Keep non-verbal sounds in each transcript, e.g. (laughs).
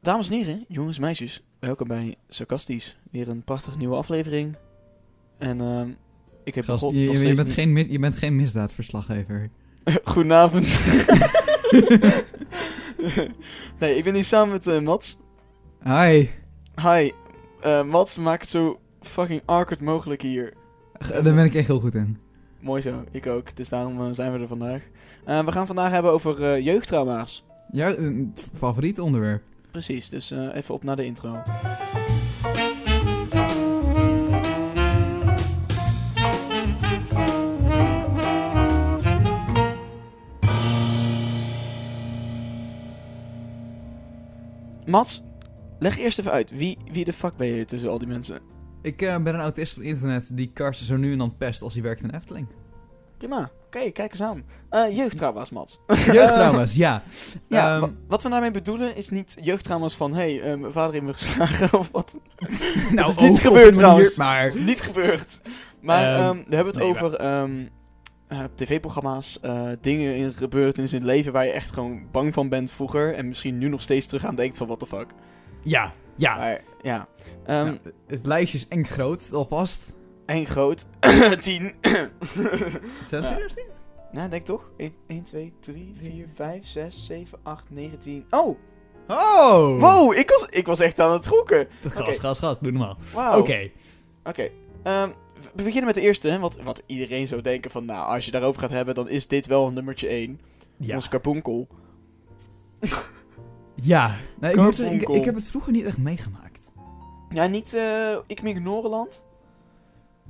Dames en heren, jongens, meisjes, welkom bij Sarcastisch. Weer een prachtige nieuwe aflevering. En ehm, ik heb Gast, God je, nog je, steeds bent niet- geen, mis- je bent geen misdaadverslaggever. (laughs) Goedenavond. nee, ik ben hier samen met eh, Mats. Hi. Hi, Eh, Mats maakt het zo fucking awkward mogelijk hier. G- Daar ben ik echt heel goed in. Mooi zo, ik ook. Dus daarom eh, zijn we er vandaag. Eh, we gaan vandaag hebben over eh, jeugdtrauma's. Jouw eh, favoriet onderwerp. Precies, dus eh, even op naar de intro. Mats, leg eerst even uit. Wie, wie de fuck ben je tussen al die mensen? Ik eh, ben een autist van internet die Karsten zo nu en dan pest als hij werkt (laughs) in Efteling. Prima. Oké, kijk eens aan. Eh jeugdtrauma's, Mats. Jeugdtrauma's, (laughs) ja. Ja, Ehm, wa- wat we daarmee bedoelen is niet jeugdtrauma's van... hé, hey, eh, mijn vader heeft me geslagen (laughs) of wat nou, is niet ook op gebeurd een trouwens. Maar is niet gebeurd. Maar Ehm, ehm, we hebben het nee, over ehm, eh, tv-programma's, eh, dingen in gebeurd in zijn leven waar je echt gewoon bang van bent vroeger. En misschien nu nog steeds terug aan denkt van what the fuck. ja, ja. Maar ja. Ehm, Nou, het lijstje is eng groot, alvast. En groot. (coughs) Tien. Zijn Ja. ze serieus niet? nou, denk toch? 1, 2, 3, 4, 5, 6, 7, 8, 9, 10. Oh! Oh! Wow, ik was, ik was echt aan het gokken. Gast, Oké. Oh. gast, gast. Doe normaal. Wauw. Oké. Oké. ehm, we beginnen met de eerste, hè, wat, wat iedereen zou denken van, nou, als je daarover gaat hebben, dan is dit wel nummertje 1. Ja. Onze karponkel. Ja. Nee, ik, moet zeggen, ik, Karponkel. ik heb het vroeger niet echt meegemaakt. Ja, niet eh Ik Mink Norenland.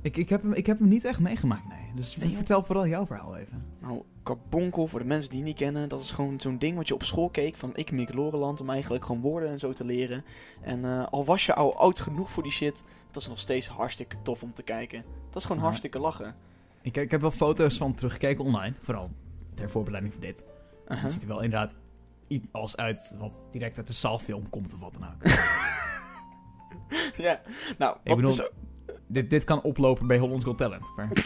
Ik, ik, heb hem, ik heb hem niet echt meegemaakt, nee. Dus Nee, joh. vertel vooral jouw verhaal even. Nou, Carbonkel, voor de mensen die het niet kennen, dat is gewoon zo'n ding wat je op school keek van Ik Mink Norenland, om eigenlijk gewoon woorden en zo te leren. En eh, al was je al oud genoeg voor die shit, dat is nog steeds hartstikke tof om te kijken. Dat is gewoon Ja. hartstikke lachen. Ik, ik heb wel foto's van teruggekeken online, vooral ter voorbereiding voor dit. Het Uh-huh. ziet er wel inderdaad iets als uit wat direct uit de zaalfilm komt of wat dan ook. (laughs) ja, nou, Ik wat bedoel, is... dit, dit kan oplopen bij Hollands Got Talent, maar... (laughs)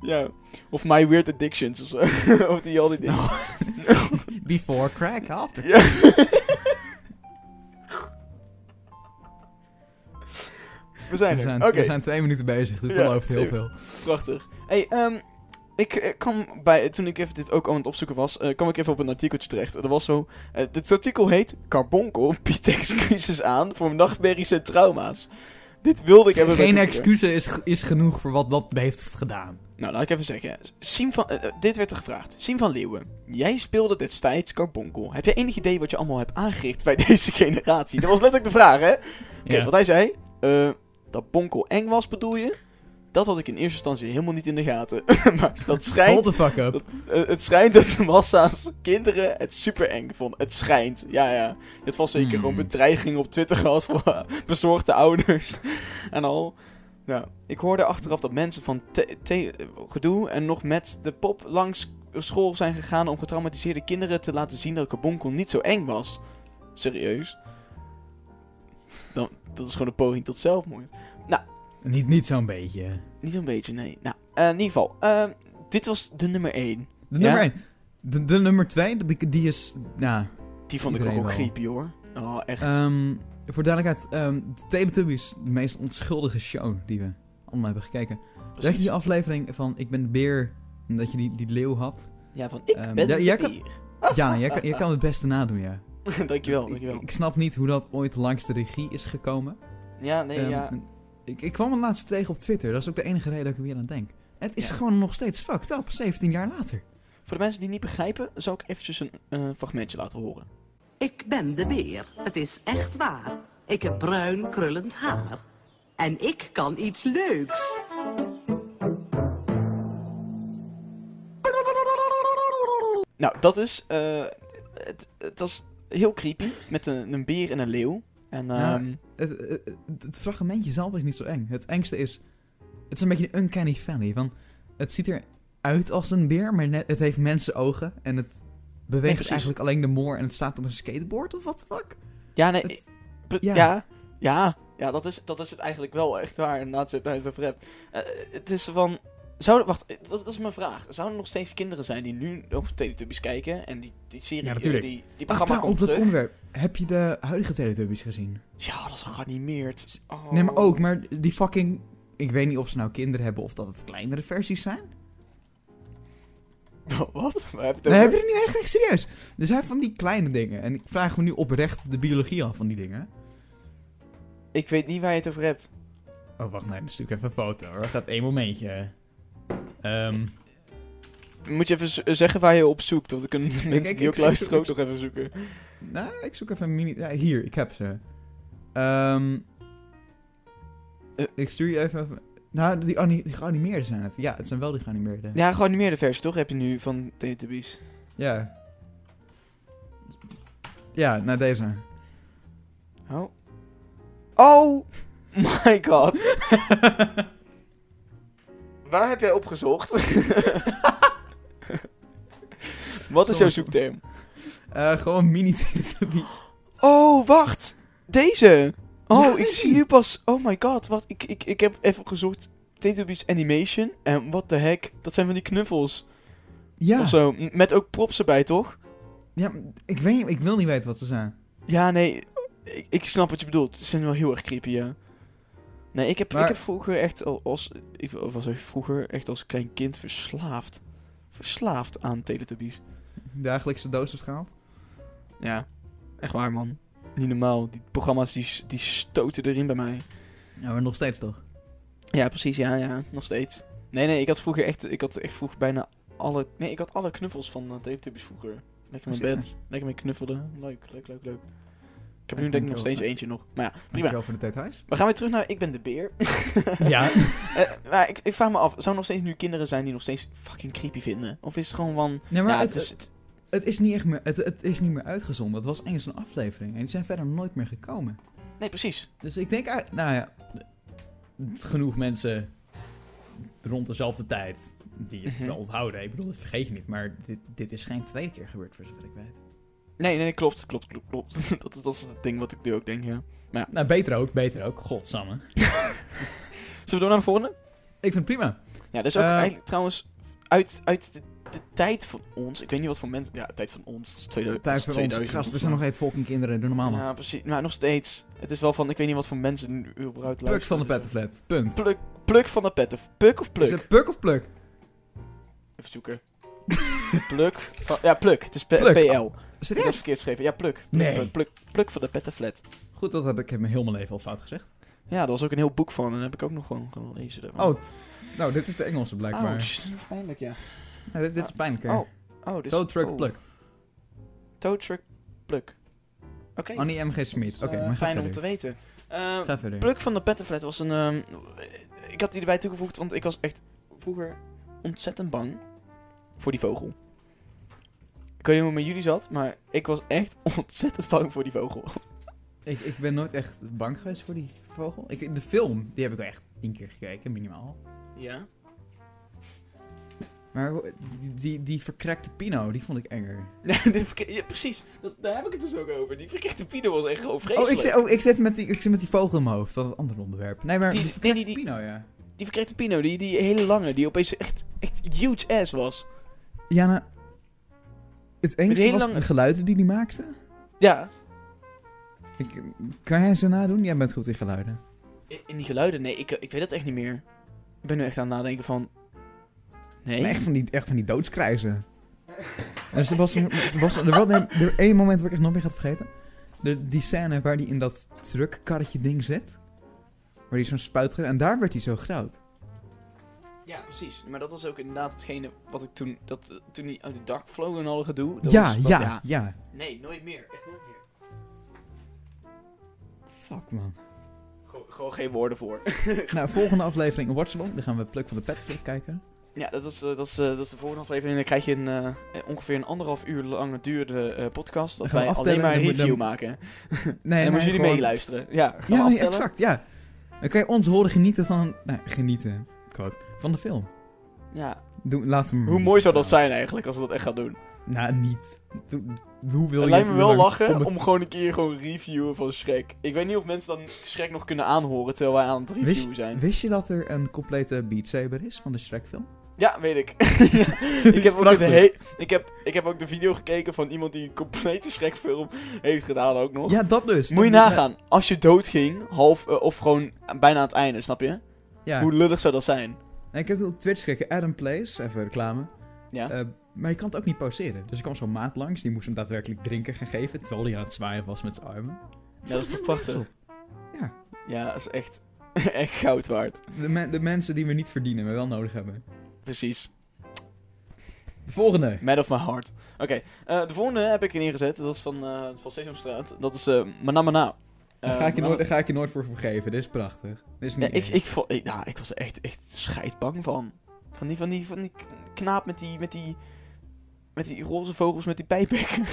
Ja, of My Weird Addictions of zo. (laughs) of die al die dingen. Nou, before crack, after. Ja. We zijn We er. zijn, Oké, we zijn twee minuten bezig, dit Ja, belooft heel twee- veel. prachtig. Hey, ehm, ik eh, kwam bij, toen ik even dit ook aan het opzoeken was, eh, kwam ik even op een artikeltje terecht. Er was zo, eh, dit artikel heet Carbonkel biedt (laughs) excuses aan voor nachtmerries en trauma's. Dit wilde ik hebben bij Geen Tinker. excuses is, is genoeg voor wat dat heeft gedaan. Nou, laat ik even zeggen. Siem van, eh, eh, dit werd er gevraagd. Siem van Leeuwen, jij speelde destijds Carbonkel. Heb je enig idee wat je allemaal hebt aangericht bij (laughs) deze generatie? Dat was letterlijk de vraag, hè? Oké, Ja. wat hij zei, eh, dat Bonkel eng was, bedoel je? Dat had ik in eerste instantie helemaal niet in de gaten. (laughs) maar dat Hold schijnt, the fuck up. dat- eh, het schijnt dat de massa's kinderen het super eng vonden. Het schijnt, ja, ja. Dit was zeker Hmm. gewoon bedreiging op Twitter gehad van (laughs) bezorgde ouders (laughs) en al. Ja, ik hoorde achteraf dat mensen van te- te- gedoe en nog met de pop langs school zijn gegaan om getraumatiseerde kinderen te laten zien dat Kabonkel niet zo eng was. Serieus? Dan, dat is gewoon een poging tot zelfmoord. Niet, niet zo'n beetje. Niet een beetje, nee. Nou, eh, in ieder geval, eh, dit was de nummer 1. De Ja? nummer 1. De, de nummer 2, die, die is... Nou, Die vond ik ook, Iedereen ook wel. creepy hoor. Oh, echt. Ehm, voor duidelijkheid, ehm, de Teletubbies, de meest onschuldige show die we allemaal hebben gekeken. Precies. Zeg je die aflevering van Ik ben de beer, en dat je die, die leeuw had? Ja, van ik Ehm, ben ja, de jij kan- beer. Ja, jij, kan- jij kan het beste nadoen, ja. (laughs) dankjewel, Ik, Oh, dankjewel. ik snap niet hoe dat ooit langs de regie is gekomen. Ja, nee, Ehm, ja. ik, ik kwam het laatst tegen op Twitter, dat is ook de enige reden dat ik er weer aan denk. Het is Ja. gewoon nog steeds fucked up, 17 jaar later. Voor de mensen die niet begrijpen, zal ik eventjes een eh, fragmentje laten horen. Ik ben de beer. Het is echt waar. Ik heb bruin krullend haar. En ik kan iets leuks. Nou, dat is. eh, het, het was heel creepy. Met een, een beer en een leeuw. En Ja. ehm, Het, het, het- het fragmentje zelf is niet zo eng. Het engste is... Het is een beetje een uncanny valley. Van, het ziet eruit als een beer, maar net, het heeft mensenogen. En het beweegt precies. eigenlijk alleen de moor en het staat op een skateboard of wat the fuck? ja, nee. Het- pre- ja. ja. ja, ja, dat, is, dat is het eigenlijk wel echt waar. Inderdaad, als je het daar eens over hebt. Eh, het is van. Zouden, wacht, dat, dat is mijn vraag. Zouden er nog steeds kinderen zijn die nu op Teletubbies kijken en die, die serie, Ja, eh, natuurlijk. die, die Ach, programma daar, komt op dat terug? onderwerp. Heb je de huidige Teletubbies gezien? Ja, dat is geanimeerd. Oh. Nee, maar ook, maar die fucking... Ik weet niet of ze nou kinderen hebben of dat het kleinere versies zijn. (laughs) Wat? Waar heb je het over? Nee, heb je er niet echt serieus. Er zijn van die kleine dingen. En ik vraag me nu oprecht de biologie af van die dingen. Ik weet niet waar je het over hebt. Oh, wacht, nee, dan stuur ik even een foto hoor. Gaat één momentje. Ehm Moet je even z- zeggen waar je op zoekt, want dan (laughs) kunnen de mensen kijk, die ook ik- ik luisteren ook zoek- nog even zoeken. nou, ik zoek even een mini... Ja, hier, ik heb ze. Ehm Eh. ik stuur je even... Nou, die, ani- die geanimeerde zijn het. Ja, het zijn wel die geanimeerde. Ja, geanimeerde versie toch heb je nu van Teletubbies. Ja, ja nou deze. Oh. Oh my god. (laughs) Waar heb jij op gezocht? (laughs) Wat is jouw Soms- zoekterm? Eh, gewoon (laughs) mini-teletubbies. Oh, wacht. Deze. Oh, Ja, ik die. zie nu pas. Oh my god. Wat? Ik, ik, ik heb even gezocht. Teletubbies Animation. En what the heck. Dat zijn van die knuffels. Ja, Of zo. M- Met ook props erbij, toch? ja maar ik, weet, niet- ik wil niet weten wat ze zijn. Ja, nee. Ik, ik snap wat je bedoelt. Ze zijn wel heel erg creepy, ja. Nee, ik heb, Maar- ik heb vroeger echt al als... Ik was echt vroeger echt als klein kind verslaafd. Verslaafd aan Teletubbies. Dagelijkse dosis gehaald. Ja. Echt waar, man. Niet normaal. Die programma's die, s- die stoten erin bij mij. Ja, maar nog steeds toch? Ja, precies. Ja, ja. Nog steeds. Nee, nee. Ik had vroeger echt... Ik had echt vroeger bijna alle... Nee, ik had alle knuffels van eh, Teletubbies vroeger. Lekker in mijn bed. Lekker mee knuffelden. Leuk, leuk, leuk, leuk. Ik heb nu denk ik nog steeds eentje nog. Maar ja, prima. Dankjewel voor de (laughs) details. We gaan weer terug naar Ik ben de beer. Ja. Eh, maar ik, ik vraag me af, zouden er nog steeds nu kinderen zijn die nog steeds fucking creepy vinden? Of is het gewoon van... Nee, maar ja, het, het is... het, Het, is niet echt meer, het, het is niet meer uitgezonden. Het was eens een aflevering. En die zijn verder nooit meer gekomen. nee, precies. Dus ik denk, uit- nou ja, genoeg mensen rond dezelfde tijd die het Mhm. wel onthouden. Ik bedoel, dat vergeet je niet. Maar dit, dit is geen tweede keer gebeurd, voor zover ik weet. Nee, nee, nee, klopt, klopt, klopt, klopt. (laughs) dat, is- dat is het ding wat ik nu ook denk, ja. Nou, beter ook, beter ook. Godsamme. Zullen we door naar de volgende? Ik vind het prima. Ja, dat is ook Eh. eigenlijk trouwens uit, uit de, de tijd van ons. Ik weet niet wat voor mensen... Ja, de tijd van ons, dat is 2000. Tijd voor ons. Gast, we zijn nog even fucking kinderen. Doe normaal man. Ja, precies. Maar nog steeds. Het is wel van, ik weet niet wat voor mensen nu überhaupt luisteren. Pluk van de pettenflat. Punt. Pluk, pluk van de petten. Puk of pluk? Is het pluk of pluk? Even zoeken. (laughs) pluk. van- ja, pluk. Het is P- Pluk. PL. Ik heb Serieus? het verkeerd geschreven. Ja, pluk. Nee. Pluk, pluk, pluk van de pettenflat. Goed, dat heb ik heb me heel mijn leven al fout gezegd. Ja, daar was ook een heel boek van. En daar heb ik ook nog gewoon gelezen. daarvan. Oh, nou, dit is de Engelse blijkbaar. Ouch, dat is pijnlijk, ja. Nee, dit, dit is pijnlijker. Oh, Oh, dit is... Toad Truck oh, Pluk. Toad Truck pluk. Oké. Annie M.G. Smit. Oké, Eh, maar ga Fijn om te verder. weten. Eh, Ga verder. pluk van de pettenflat was een... ehm, ik had die erbij toegevoegd, want ik was echt vroeger ontzettend bang voor die vogel. Ik weet niet hoe het met jullie zat, maar ik was echt (laughs) ontzettend bang voor die vogel. Ik, ik ben nooit echt bang geweest voor die vogel. Ik, de film, die heb ik wel echt tien keer gekeken, minimaal. Ja? Maar hoe- die, die, die verkrekte Pino, die vond ik enger. (laughs) Oh, Nee, die verke- ja, precies. Dat, daar heb ik het dus ook over. Die verkeerde pino was echt gewoon vreselijk. Oh, ik, zit, oh ik, zit met die, ik zit met die vogel in mijn hoofd. Dat is een ander onderwerp. Nee, maar die, die, nee, die, die, Pino, ja. die verkeerde pino, die, die hele lange, die opeens echt, echt huge ass was. Ja, nou... Het enige hele was lange- de geluiden die die maakte. Ja. Ik, kan jij ze nadoen? Jij bent goed in geluiden. I- In die geluiden, nee, ik, ik weet dat echt niet meer. Ik ben nu echt aan het nadenken van... Nee. Maar echt van die, echt van die (laughs) doodskrijzen. Dus er was, er was er was nee, er één moment waar ik echt nooit meer ga vergeten. De, die scène waar hij in dat truckkarretje ding zit. Waar hij zo'n spuit En daar werd hij zo groot. Ja, precies. Maar dat was ook inderdaad hetgene wat ik toen... Dat, eh, toen die uit de dak vloog en alle gedoe. dat ja, was- dat- ja, ja, Nee, nooit meer. Echt nooit meer. Fuck man. Gewoon- gewoon geen woorden voor. (laughs) Nou, volgende aflevering Watchalong. Dan gaan we Pluk van de Petflip kijken. Ja, dat is, eh, dat, is, eh, dat is de volgende aflevering. Dan krijg je een eh, eh, ongeveer een anderhalf uur lange duurde eh, podcast. Dat Dan wij gaan we alleen aftellen maar een en dan review moet- maken. En Nee, dan moeten jullie gewoon- meeluisteren. Ja, gaan we Ja, nee, aftellen. exact, ja. Dan kan je ons horen genieten van... Nou, genieten. Quote. Van de film. Ja. Doe, laat hem Hoe mooi zou dat zijn eigenlijk, als we dat echt gaan doen? Nou, niet. Doe- hoe wil Het je... lijkt me hoe wel lang- lachen om- om gewoon een keer gewoon reviewen van Shrek. Ik weet niet of mensen dan Shrek nog kunnen aanhoren terwijl wij aan het Wist, reviewen zijn. wist je dat er een complete Beat Saber is van de Shrek film? Ja, weet (laughs) ik. (laughs) Ja, ik, heb ook het prachtig. he- ik, heb, ik heb ook de video gekeken van iemand die een complete schrekfilm heeft gedaan ook nog. Ja, dat dus. Moet je Dat- nagaan, als je doodging, half eh, of gewoon bijna aan het einde, snap je? Ja. Hoe lullig zou dat zijn? En ik heb het op Twitch gekeken. Adam Plays, even reclame. Ja. Eh, maar je kan het ook niet pauzeren. Dus er kwam zo'n maat langs, die moest hem daadwerkelijk drinken gaan geven, terwijl hij aan het zwaaien was met zijn armen. Ja, dat is toch prachtig? Ja. Ja, dat is echt, (laughs) echt goud waard. De, men- de mensen die we niet verdienen, maar wel nodig hebben. Precies. De volgende. Mad of my heart. Oké, eh, de volgende heb ik neergezet. Dat is van, eh van Sesamstraat. Dat is eh Mana Mana. Daar Eh, ga, ik je Mana- nooit, daar ga ik je nooit voor vergeven. Dit is prachtig. Dit is Ja, niet ik, eng. ik, vo- ik, nou, ik was er echt, echt scheidbang van. Van die, van die, van die k- knaap met die, met die, met die roze vogels met die pijpbekken.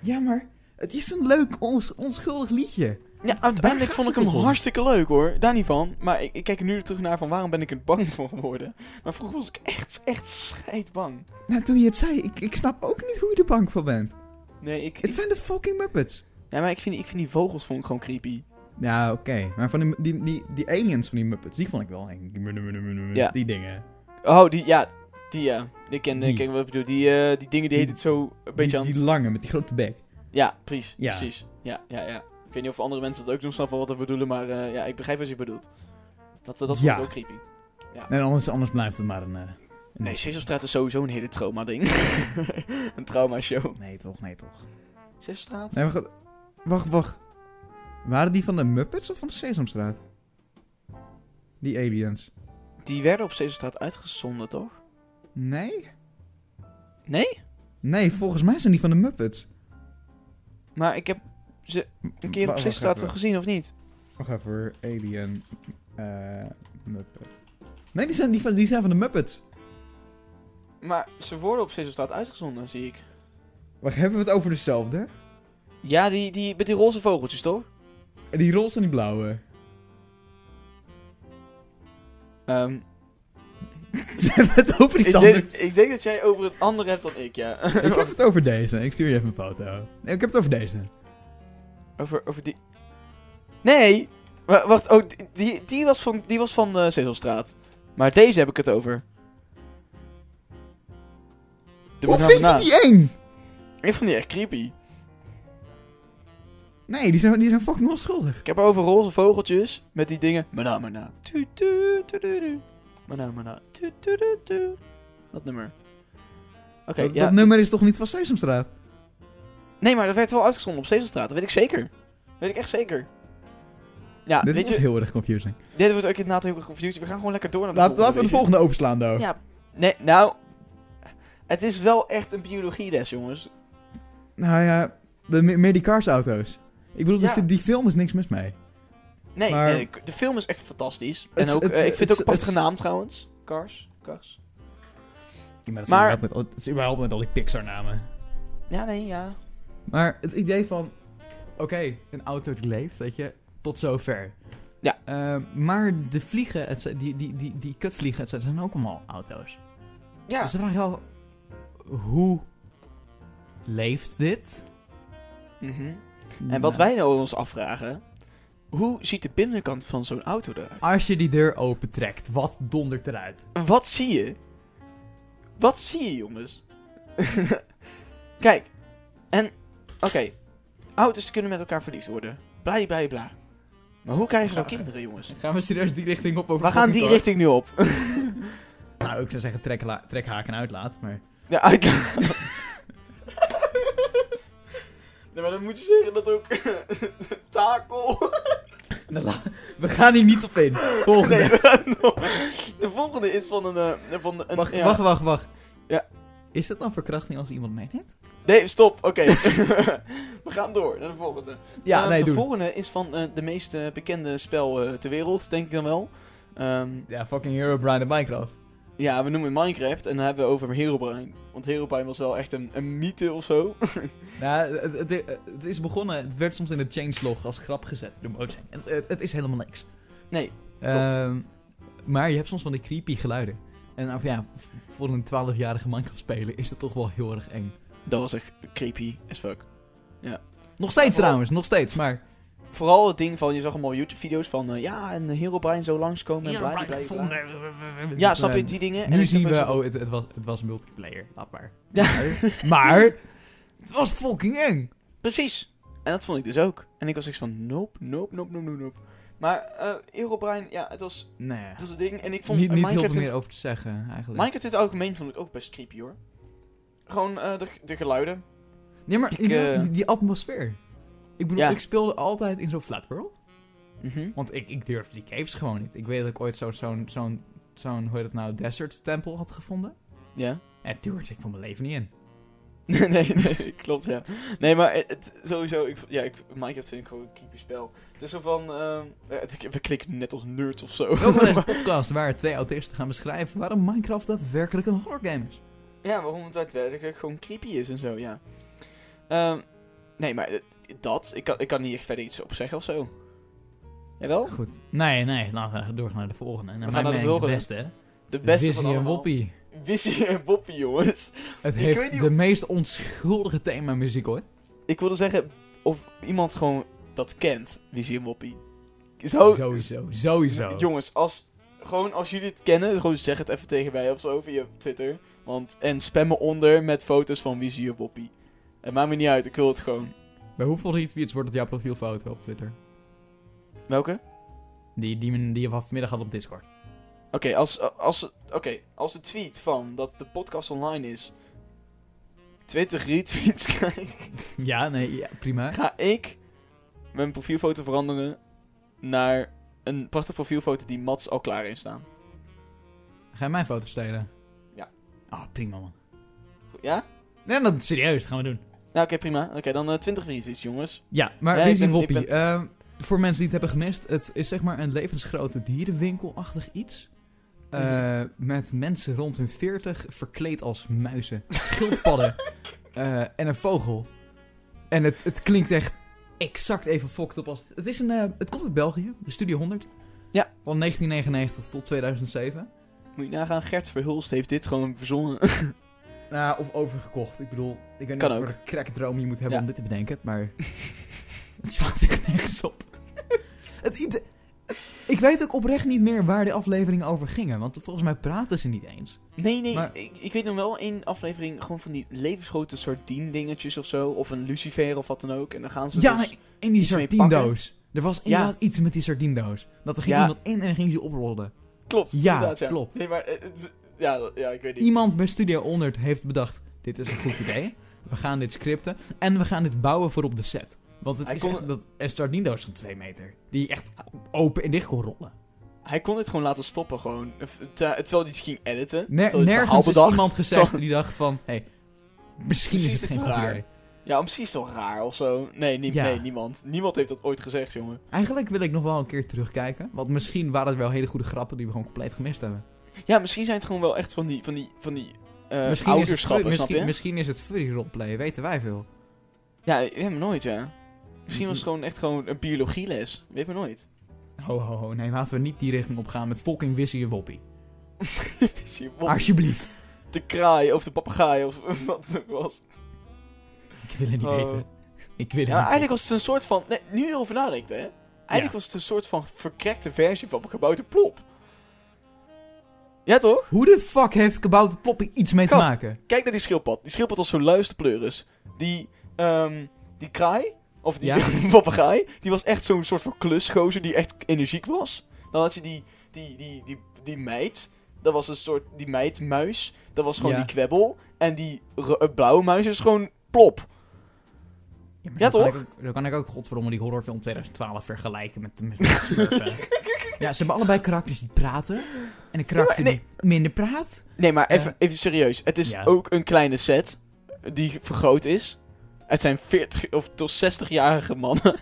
Ja, maar het is een leuk, ons, onschuldig liedje. (laughs) Ja, uiteindelijk gaat vond ik het hem toch om? hartstikke leuk hoor. Daar niet van. Maar ik, ik kijk er nu terug naar van waarom ben ik er bang voor geworden. Maar vroeger was ik echt, echt scheidbang. Nou, toen je het zei, ik, ik snap ook niet hoe je er bang voor bent. Nee, ik, Het ik, zijn de fucking Muppets. ja, maar ik vind, die- ik vind die vogels vond ik gewoon creepy. Ja, oké. Maar van die, die, die, die aliens van die Muppets, die vond ik wel eng. Die, Ja. die dingen. Oh, die, ja, die ja. Ik ken, Die. ik ken wat ik bedoel. Die, eh, die dingen die heet het zo een beetje die, aan het... die lange, met die grote bek. Ja, precies. Ja. Precies. Ja, ja, ja. Ik weet niet of andere mensen dat ook nog snappen wat we bedoelen, maar eh, ja, ik begrijp wat je bedoelt. Dat, eh, dat vond Ja. ik ook creepy. En anders, anders blijft het maar een... eh, een- Nee, Sesamstraat is sowieso een hele trauma-ding. (laughs) een trauma-show. Nee toch, nee toch. Sesamstraat? Nee, wacht, wacht, wacht. Waren die van de Muppets of van de Sesamstraat? Die aliens. Die werden op Sesamstraat uitgezonden, toch? Nee? Nee? Nee, volgens mij zijn die van de Muppets. Maar ik heb ze een keer op Wacht Sesamstraat even. wel gezien, of niet? Wacht even, hoor. alien... eh Muppet. Nee, die zijn, die, van, die zijn van de Muppets. Maar ze worden op Sesamstraat uitgezonden, zie ik. Wacht, hebben we het over dezelfde? Ja, die, die, met die roze vogeltjes, toch? En Die roze en die blauwe. Ehm, (laughs) Ze hebben het over ik, iets denk, anders. ik denk dat jij over een andere hebt dan ik, ja. Ik heb het over deze. Ik stuur je even een foto. Nee, ik heb het over deze. Over, over die. Nee! Wa- Wacht, oh, die- die, die was van, die was van eh Sesamstraat. Maar deze heb ik het over. De Hoe banaan vind je banaan. die eng? Ik vond die echt creepy. Nee, die zijn, die zijn fucking onschuldig. Ik heb over roze vogeltjes met die dingen. Mana, mana. Tu, tu, tu, tu, tu. Mana, mana. Tu, tu, tu, tu. Dat nummer. Oké, dat, ja. Ah, dat nummer is toch niet van Sesamstraat? Nee, maar dat werd wel uitgezonden op Sesamstraat. Dat weet ik zeker. Dat weet ik echt zeker. Ja, Dit weet wordt je, heel erg confusing. dit wordt ook inderdaad heel erg confusing. We gaan gewoon lekker door naar de Laat- volgende. laten we de weet je. volgende overslaan, though. Ja, nee, nou. Het is wel echt een biologieles, jongens. Nou ja, de, me- meer die cars-auto's. Ik bedoel, die Ja. fi- die, film is niks mis mee. Nee, Maar- nee, de film is echt fantastisch. Het- en ook, het- eh, ik vind het ook het- apart het- genaamd trouwens. Cars. Cars. maar dat is Maar- überhaupt met, al die Pixar-namen. Ja, nee, ja. Maar het idee van... Oké, een auto die leeft, weet je. Tot zover. Ja. Eh, maar de vliegen, et cetera, die, die, die, die kutvliegen, et cetera, zijn ook allemaal auto's. Ja, Dus dan vraag je wel... Hoe leeft dit? mhm. Mm, en wat wij nou ons afvragen. Hoe ziet de binnenkant van zo'n auto eruit? Als je die deur opentrekt, wat dondert eruit? Wat zie je? Wat zie je, (laughs) jongens? Kijk. En, oké. Auto's kunnen met elkaar verliefd worden. Bla, bla, bla. Maar hoe krijgen ze nou kinderen, jongens? Gaan we serieus die richting op over We gaan die richting. richting nu op. Nou, ik zou zeggen trek, la- trek haak en uitlaat, maar... Ja, (laughs) uit. nee, maar dan moet je zeggen dat ook. (laughs) Takel. (laughs) We gaan hier niet op in. Volgende. (laughs) Nee, we gaan nog- de volgende is van een. eh, Van een wacht, ja. wacht, wacht, wacht. Ja. Is dat dan verkrachting als iemand meeneemt? Nee, stop. Oké. (laughs) we gaan door naar de volgende. Ja, Eh, nee, De doe. volgende is van eh, de meest eh, bekende spel eh, ter wereld, denk ik dan wel. Ehm, Ja, fucking Herobrine in Minecraft. ja, we noemen het Minecraft en dan hebben we over Herobrine. Want Herobrine was wel echt een, een mythe of zo. (laughs) Nou, het, het, het is begonnen, het werd soms in de changelog als grap gezet door Mojang. Het, het, het is helemaal niks. Nee, Ehm, maar je hebt soms van die creepy geluiden. En of ja, v- voor een 12-jarige Minecraft spelen is dat toch wel heel erg eng. dat was echt creepy as fuck. Nog steeds Ja, trouwens, nog steeds, maar... vooral het ding van, je zag allemaal YouTube-video's van, eh, ja, en Herobrine zo langskomen en bla, bla, bla, bla. Ja, snap je, die dingen. Ehm, Nu ik zien dacht we, echt zo van, oh, het, het, was, het was multiplayer, laat maar. Ja. Maar, maar (laughs) het was fucking eng. Precies. En dat vond ik dus ook. En ik was echt van, nope, nope, nope, nope, nope, nope. Maar eh Herobrine, ja, het was, Nee. het was het ding. En ik vond niet niet heel Minecraft, veel in meer het, over te zeggen, eigenlijk. Minecraft in het algemeen vond ik ook best creepy, hoor. Gewoon eh, de, de geluiden. nee, maar ik, inderdaad, eh, die- die atmosfeer. Ik bedoel, Ja. ik speelde altijd in zo'n flat world. Mhm. Want ik, ik durfde die caves gewoon niet. Ik weet dat ik ooit zo'n, zo'n, zo'n, zo'n hoe heet dat nou, desert tempel had gevonden. Ja. (laughs) En duurde ik vond mijn leven niet (laughs) in. nee, nee, klopt, ja. Nee, maar het- het, sowieso, ik, ja, ik, Minecraft vind ik gewoon een creepy spel. Het is zo van, ehm, eh, het- we klikken net als nerds of zo. Welkom (laughs) bij deze podcast waar twee autisten gaan beschrijven waarom Minecraft daadwerkelijk een horrorgame is. Ja, waarom het daadwerkelijk gewoon creepy is en zo, ja. Ehm, nee, maar eh, dat, ik kan, ik kan niet echt verder iets op zeggen of zo. Jawel? Goed. Nee, nee, laten we doorgaan naar de volgende. En gaan mijn naar de mening volgende. beste, hè. De beste Wizzy van en allemaal. Woppie. Wizzy en Woppie, jongens. Het Ik weet heeft niet de meest onschuldige themamuziek ooit. Ik wilde zeggen, of iemand gewoon dat kent, Wizzy en Woppie. Oh. Zo, Sowieso, sowieso. Jongens, als, gewoon als jullie het kennen, gewoon zeg het even tegen mij of zo via Twitter. Want, en spam me onder met foto's van Wizzy en Woppie. Het maakt me niet uit, ik wil het gewoon. Bij hoeveel retweets wordt het jouw profielfoto op Twitter? Welke? Die, die, men- die je vanmiddag had op Discord. Oké, als, als, oké, als de tweet van dat de podcast online is 20 retweets (laughs) krijgt, Ja, nee, ja, prima. ga ik mijn profielfoto veranderen naar een prachtige profielfoto die Mats al klaar heeft staan. Ga je mijn foto stelen? Ja. Ah, prima man. Goed, Ja? Nee, dat serieus, dat gaan we doen. Nou, oké, prima. Oké, dan eh, 20 retweets, jongens. Ja, maar Ja, ik Wizzy ben- en Woppie. ik ehm, voor mensen die het hebben gemist, het is zeg maar een levensgrote dierenwinkelachtig iets. Eh, Met mensen rond hun 40 verkleed als muizen, schildpadden eh, en een vogel. En het, het klinkt echt exact even fokt op als. Het, is een, eh, het komt uit België, de Studio 100. Ja. Van 1999 tot 2007. (laughs) Moet je nagaan, Gert Verhulst heeft dit gewoon verzonnen. (laughs) Nou, of overgekocht. Ik bedoel, ik weet Kan niet ook. voor de crackdroom je moet hebben Ja. om dit te bedenken, maar... (laughs) het slaat echt nergens op. (laughs) het ide- ik weet ook oprecht niet meer waar de afleveringen over gingen, want volgens mij praten ze niet eens. Nee, nee, Maar- ik, ik weet nog wel één aflevering gewoon van die levensgrote sardiendingetjes of zo. Of een lucifer of wat dan ook. En dan gaan ze Ja, dus... nee, in die iets mee sardiendoos. Er was inderdaad Ja. iets met die sardiendoos. Dat er ging Ja. iemand in en ging ze oprollen. Klopt, Ja, inderdaad, ja. klopt. Nee, maar... eh, het- ja, ja, ik weet niet. Iemand bij Studio 100 heeft bedacht, dit is een goed idee. We gaan dit scripten en we gaan dit bouwen voor op de set. Want het Hij is kon- echt dat een sardiendoos van 2 meter. Die echt open en dicht kon rollen. Hij kon dit gewoon laten stoppen, gewoon. Of, eh, Terwijl hij het ging editen. terwijl hij het Ner- verhaal nergens is bedacht. iemand gezegd Terwijl- die dacht van, hé, hey, misschien Precies, is het het geen is goed raar. idee. Ja, misschien is het wel raar of zo. Nee, nie- Ja. nee, niemand. Niemand heeft dat ooit gezegd, jongen. Eigenlijk wil ik nog wel een keer terugkijken, want misschien waren het wel hele goede grappen die we gewoon compleet gemist hebben. Ja, misschien zijn het gewoon wel echt van die, van die, van die eh, misschien, is het, ouderschappen, furry- snap misschien, je? misschien is het furry roleplay, weten wij veel. Ja, ik weet me nooit, ja. Misschien was het gewoon echt gewoon een biologieles. Weet me nooit. (laughs) Ho, ho, ho, nee, laten we niet die richting op gaan met fucking Wissy en Woppie. Is hier wel Alsjeblieft. de kraai of de papegaai of (laughs) wat het ook was. Ik wil het niet Oh. weten. Ik wil het Ja, niet maar eigenlijk was het een soort van... Nee, nu je erover nadenkt, hè. Eigenlijk Ja. was het een soort van verkrekte versie van gebouwde plop. Ja, toch? weten. Hoe de fuck heeft Kabouter Ploppie iets mee Gast. te maken? Kijk naar die schildpad. Die schildpad was zo'n luisterpleuris. Die, ehm, die kraai, of die Ja. (laughs) papegaai, die was echt zo'n soort van klusgozer die echt energiek was. Dan had je die, die, die, die, die meid. Dat was een soort, die meidmuis. Dat was gewoon Ja. die kwebbel. En die ro- eh, blauwe muis is gewoon plop. maar Ja, dan kan toch? ik ook- Dan kan ik ook godverdomme die horrorfilm 2012 vergelijken met de met de Smurfen. (laughs) ja, ze hebben allebei karakters die praten. En een karakter nee. die minder praat. Nee, maar Ja. even, even serieus. Het is Ja. ook een kleine set die vergroot is. Het zijn 40 of tot 60-jarige mannen.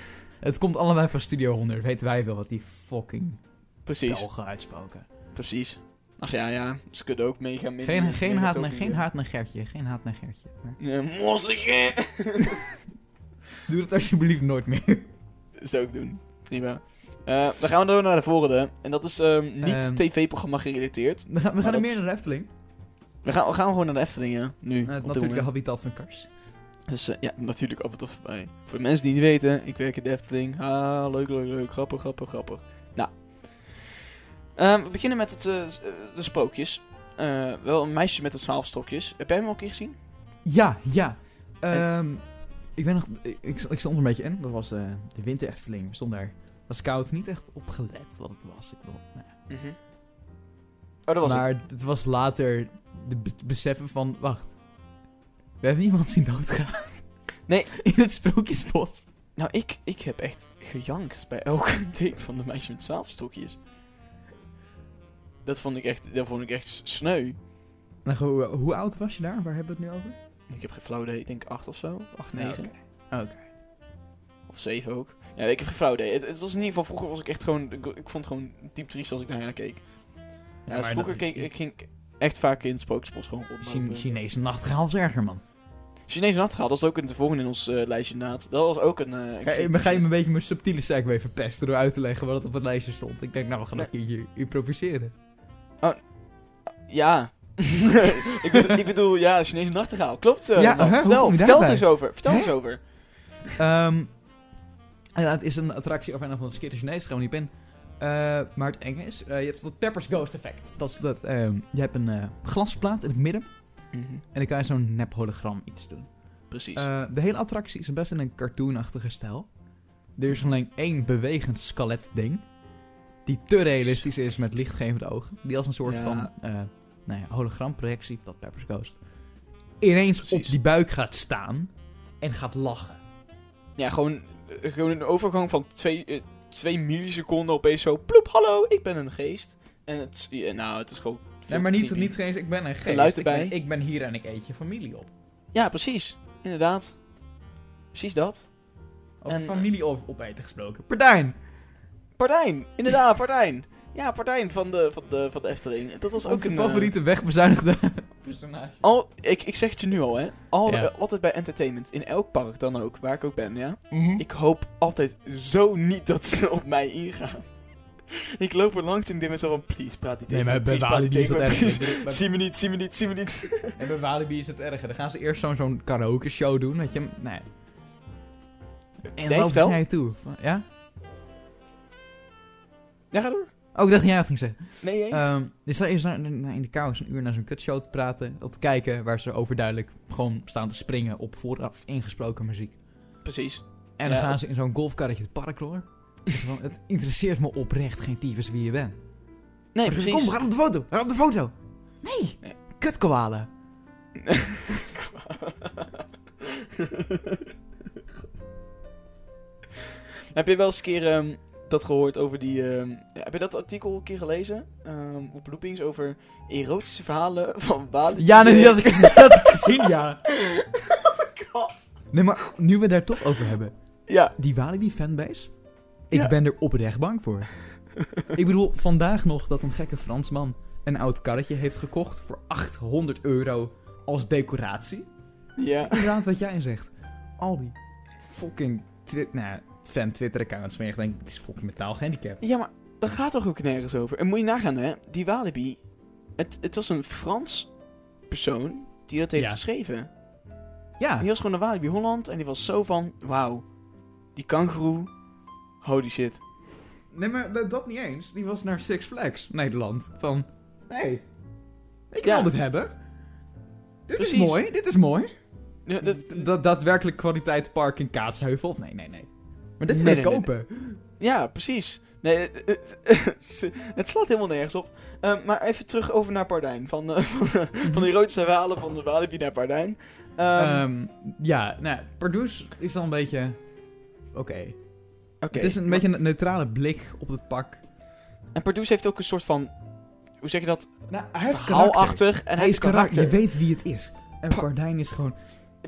(laughs) Het komt allebei van Studio 100. Weten wij wel wat die fucking Precies, Belgen uitspoken. precies. Ach ja, ja. Ze kunnen ook mega min. Geen, geen, mega haat, token naar, geen doen. haat naar Gertje. Geen haat naar Gertje. Maar Ja, mossetje. (laughs) doe dat alsjeblieft nooit meer. (laughs) Zou ik doen. Prima. Eh, dan gaan we door naar de volgende. En dat is ehm, niet Ehm. tv-programma gerelateerd. We gaan, we gaan dat- er meer naar de Efteling. We gaan, we gaan gewoon naar de Efteling, ja. Nu. Eh, op dit natuurlijk de moment. habitat van Kars. Dus eh, ja, natuurlijk Appeltop voorbij. Voor de mensen die het niet weten, ik werk in de Efteling. Ah, leuk, leuk, leuk. Grappig, grappig, grappig. Nou. Ehm, we beginnen met het, eh, s- eh, de sprookjes. Eh, wel een meisje met de twaalfstokjes. Heb jij hem al een keer gezien? Ja, ja. Ehm, ik ben nog... Ik, ik stond er een beetje in. Dat was eh, de winter Efteling. We stonden daar. Was koud. Niet echt opgelet wat het was. Ik bedoel, nou ja. Oh, dat was het. maar het. was later de be- beseffen van... Wacht. We hebben iemand zien doodgaan. Nee. (laughs) In het sprookjesbos. Nou, ik, ik heb echt gejankt bij elke (laughs) ding van de meisje met twaalfstokjes. Dat vond ik echt, dat vond ik echt s- sneu. Nou, hoe, hoe oud was je daar? Waar hebben we het nu over? Ik heb geen flauw idee, ik denk acht of zo. Acht, Ja, negen. Oké. Of zeven ook. Ja, ik heb geen flauw idee. Het, het was in ieder geval, vroeger was ik echt gewoon, ik, ik vond het gewoon diep triest als ik naar haar keek. Ja, dus maar vroeger dat is- keek, ik Oh, ging echt vaak in het sprookjesbos gewoon eh, Chine- rondlopen. Chinese nachtgaal is erger, man. Chinese nachtgaal, dat is ook in de volgende in ons eh, lijstje naad. Dat was ook een... eh, Ga je, een- maar ga je me een beetje mijn subtiele segue verpesten door uit te leggen wat het op het lijstje stond? Ik denk, nou, we gaan een keertje improviseren. (laughs) Ja. (laughs) ik, bedoel, ik bedoel, ja, Chinese nachtegaal. Klopt. eh Ja, Nat. hè, hoe vertel kom je vertel het daarbij? eens over. Vertel Hè? eens over. Ehm ja, het is een attractie of een van de skittere Chinees, gaan we niet in. Eh, maar het enge is, eh, je hebt dat Pepper's Ghost effect. Dat is dat, ehm, je hebt een eh, glasplaat in het midden en dan kan je zo'n nep hologram iets doen. Precies. Mhm. Eh, de hele attractie is best in een cartoonachtige stijl. Er is alleen één bewegend skelet ding. Die te realistisch is met lichtgevende ogen. Die als een soort Ja. van eh nou ja, hologramprojectie, dat Pepper's Ghost. Ineens op Precies. die buik gaat staan en gaat lachen. ja, gewoon, eh, gewoon een overgang van twee, eh, twee milliseconden opeens zo... Ploep, hallo, ik ben een geest. En het, is- ja, nou, het is gewoon... veel Nee, te maar niet, creepy. niet eens, ik ben een geest. Geluid Ik ben- erbij. Ik ben hier en ik eet je familie op. Ja, precies. Inderdaad. Precies dat. Of En- eh, familie op, opeten gesproken. Pardijn! Partijn. Inderdaad, (laughs) Partijn. Ja, Partijn van de, van de, van de Efteling. Dat was Dat ook is ook een eh, favoriete (laughs) wegbezuinigde personage. Al, ik, ik zeg het je nu al, hè. Al, Ja. eh, altijd bij entertainment. In elk park dan ook. Waar ik ook ben, ja. Mhm. Ik hoop altijd zo niet dat ze op mij ingaan. (laughs) Ik loop er langs en ik denk mezelf van... Please, praat niet Nee, tegen maar me. bij Please, praat niet Walibi is tegen dat me. erg. Please. (laughs) Bij- bij- Zie me niet, zie me niet, zie me niet. En bij Walibi is het erger. Dan gaan ze eerst zo'n zo'n karaoke show doen, weet je. Nee. En Nee, dan vertel. lopen jij toe. Ja? Ja, ga door. Oh, ik dacht dat jij het ging zeggen. Nee, nee. Ehm dus dan eerst naar, naar- in de kou eens een uur naar zo'n kutshow te praten. Om te kijken waar ze overduidelijk gewoon staan te springen op vooraf ingesproken muziek. Precies. En dan Ja. gaan ze in zo'n golfkarretje het park door. Dus van, het interesseert me oprecht geen tyfus wie je bent. Nee, Maar ze zeggen, Kom, precies. we gaan op de foto. We gaan op de foto. Nee. Nee. Kut koala. (laughs) Heb je wel eens een keer ehm, dat gehoord over die... ehm, ja, heb je dat artikel een keer gelezen? Ehm, op Loopings over erotische verhalen van Walibi? Ja, nee, die had ik, dat had ik gezien, (laughs) ja. Oh God. Nee, maar nu we daar toch over hebben. Ja. Die Walibi fanbase, ik Ja. ben er oprecht bang voor. ik bedoel, vandaag nog dat een gekke Fransman een oud karretje heeft gekocht voor 800 euro als decoratie. Ja. Inderdaad wat jij zegt. Al die fucking twi- nou, fan Twitter accounts van je echt denkt, dit is fucking metaal gehandicap. Ja, maar dat gaat toch ook nergens over? En moet je nagaan, hè? Die Walibi... Het, het was een Frans persoon die dat heeft Ja. geschreven. Ja, En die was gewoon naar Walibi Holland en die was zo van... Wauw, die kangeroe... Holy shit. nee maar dat, dat niet eens. Die was naar Six Flags Nederland. Van, hey, ik Ja. wil dit hebben. Dit Precies. is mooi, dit is mooi. Ja, dat, dat daadwerkelijk kwaliteit park in Kaatsheuvel? Nee, nee, nee. Maar dit wil Nee, ik nee, nee, kopen. ja precies. Nee, het, het- het- (laughs) het slaat helemaal nergens op. Ehm, maar even terug over naar Pardijn. Van, eh, (laughs) van, Mhm. van die rode verhalen van de Walibi naar Pardijn. Ehm, Ehm, ja, nou, Pardoes is dan een beetje... Oké. Oké. Het is een maar- beetje een neutrale blik op het pak. En Pardoes heeft ook een soort van... Hoe zeg je dat? Nou, hij heeft karakter. Haalachtig. En hij heeft karakter. Je weet wie het is. En Pa- Pardijn is gewoon...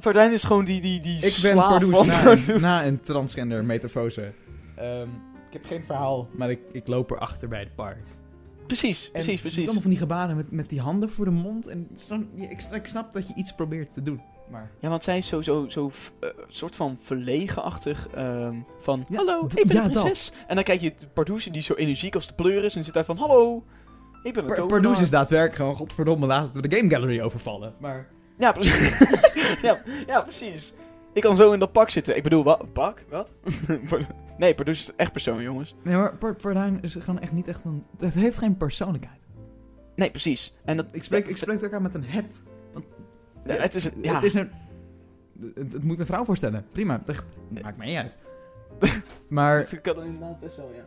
Pardijn is gewoon die, die, die Ik ben slaaf Pardoes van (laughs) na, Pardoes. een- na een transgender metamorfose. Ehm, ik heb geen verhaal, maar ik, ik loop erachter bij het park. Precies, En precies, ze doet precies. allemaal van die gebaren met, met die handen voor de mond. En zo'n- ik, ik snap dat je iets probeert te doen, maar... Ja, want zij is sowieso zo, zo, eh, soort van verlegenachtig ehm, van... Ja, hallo, d- ik ben ja, een prinses. En dan kijk je Pardoes die zo energiek als de pleur is. En zit daar van, hallo, ik ben een Pa- tovenaar. Pardoes is daadwerkelijk gewoon, (laughs) godverdomme, laten we de Game Gallery overvallen. Maar Ja, precies. ja, ja, precies. Ik kan zo in dat pak zitten. Ik bedoel, wat? Pak? Wat? (laughs) nee, Pardoes is echt persoon, jongens. Nee, maar Par- Pardijn is gewoon echt niet echt een... Het heeft geen persoonlijkheid. Nee, precies. En dat, Ik spreek, ik spreek het ook aan met een het. Ja, het is een... Ja, Het is een... Het, het moet een vrouw voorstellen. Prima. Dat maakt mij niet uit. (laughs) maar het kan inderdaad best wel, ja.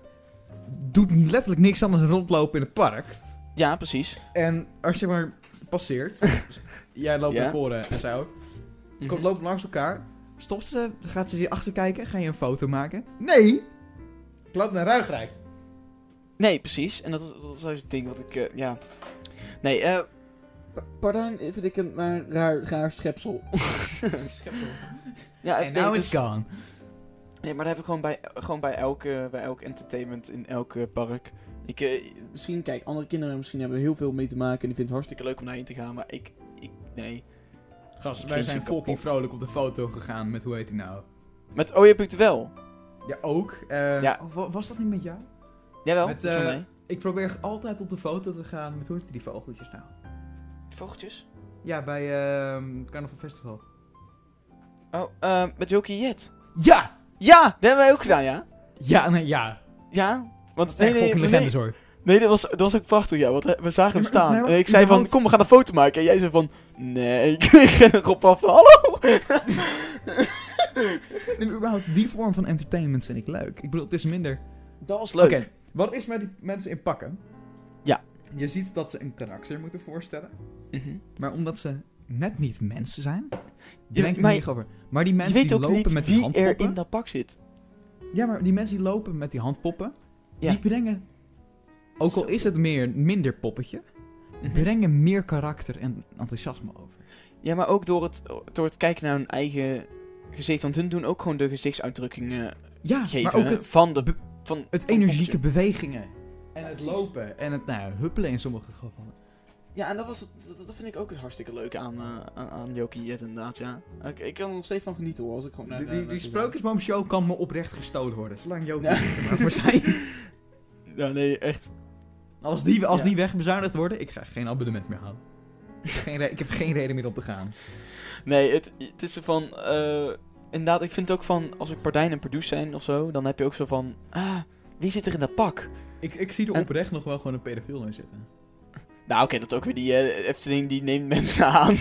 doet letterlijk niks anders dan rondlopen in het park. Ja, precies. En als je maar (laughs) passeert... jij loopt Ja. naar voren en zo. Komt, Mhm. loopt langs elkaar. Stopt ze, dan gaat ze je achter kijken. Ga je een foto maken? Nee! Ik loop naar Ruigrijk. Nee, precies. En dat is, dat is juist het ding wat ik... eh, ja. Nee, eh... Pa- Pardijn vind ik een maar raar, raar schepsel. ja, En nee, nou het is Ah, is, het gone. nee, maar dat heb ik gewoon bij, gewoon bij, elke, bij elk entertainment in elke park. Ik, eh, misschien, kijk, andere kinderen misschien hebben er heel veel mee te maken. En die vinden het hartstikke leuk om daarheen te gaan. Maar ik... ik nee. Gast, wij zijn fucking vrolijk op de foto gegaan met hoe heet hij nou? Met Oh, je het wel. Ja, ook. Eh, Ja. oh, wa- was dat niet met jou? Jawel, Met, dat is van eh, mij. Ik probeer altijd op de foto te gaan met hoe heet die vogeltjes nou? Vogeltjes? Ja, bij ehm het Carnaval Festival. Oh, eh, met Jokie Jet. Ja! Ja, dat hebben wij ook gedaan, ja. Ja, nee, ja. Ja, want... Nee, Nee, Echt nee, fucking nee, legendes nee, hoor. nee dat, was, dat was ook prachtig, ja. Want eh, we zagen hem (laughs) maar- staan. nee, maar en ik zei van, überhaupt- kom, we gaan een foto maken. En jij zei van, nee, (laughs) ik ging erop af. Hallo! En überhaupt, die vorm van entertainment vind ik leuk. Ik bedoel, het is minder... Dat was leuk. Oké, wat is met die mensen in pakken? Ja. Je ziet dat ze een karakter moeten voorstellen. Mhm. Maar omdat ze net niet mensen zijn, Ja, denk ik maar- er niet over. Maar die Je mensen weet die ook lopen niet met die wie er handpoppen... in dat pak zit. Ja, maar die mensen die lopen met die handpoppen, Ja. die brengen, ook al Zo. is het meer minder poppetje, Mhm. brengen meer karakter en enthousiasme over. Ja, maar ook door het, door het kijken naar hun eigen gezicht. Want hun doen ook gewoon de gezichtsuitdrukkingen Ja, geven Ah, maar ook hè, het, van de... be- Van, het van energieke bewegingen en Ja, het precies. lopen en het nou, ja, huppelen in sommige gevallen. Ja, en dat, was, het- dat, dat vind ik ook het hartstikke leuk aan, eh, aan, aan Jokie Jet inderdaad, ja. Ik, ik kan er nog steeds van genieten hoor, als ik gewoon... naar- die naar- die, naar- die sprookjesboomshow kan me oprecht gestolen worden, zolang Joop Ja. niet er maar voor zijn. (laughs) Ja, nee, echt. (laughs) Als die, als Ja. die wegbezuinigd worden, ik ga geen abonnement meer houden. Geen re- ik heb geen reden meer om te gaan. Nee, het, het is zo van... eh, inderdaad, ik vind het ook van... Als ik Pardijn en Pardoes zijn of zo, dan heb je ook zo van... Ah, wie zit er in dat pak? Ik, ik zie er En- oprecht nog wel gewoon een pedofiel in zitten. Nou, oké, dat is ook weer die eh, Efteling, die neemt mensen (laughs) aan.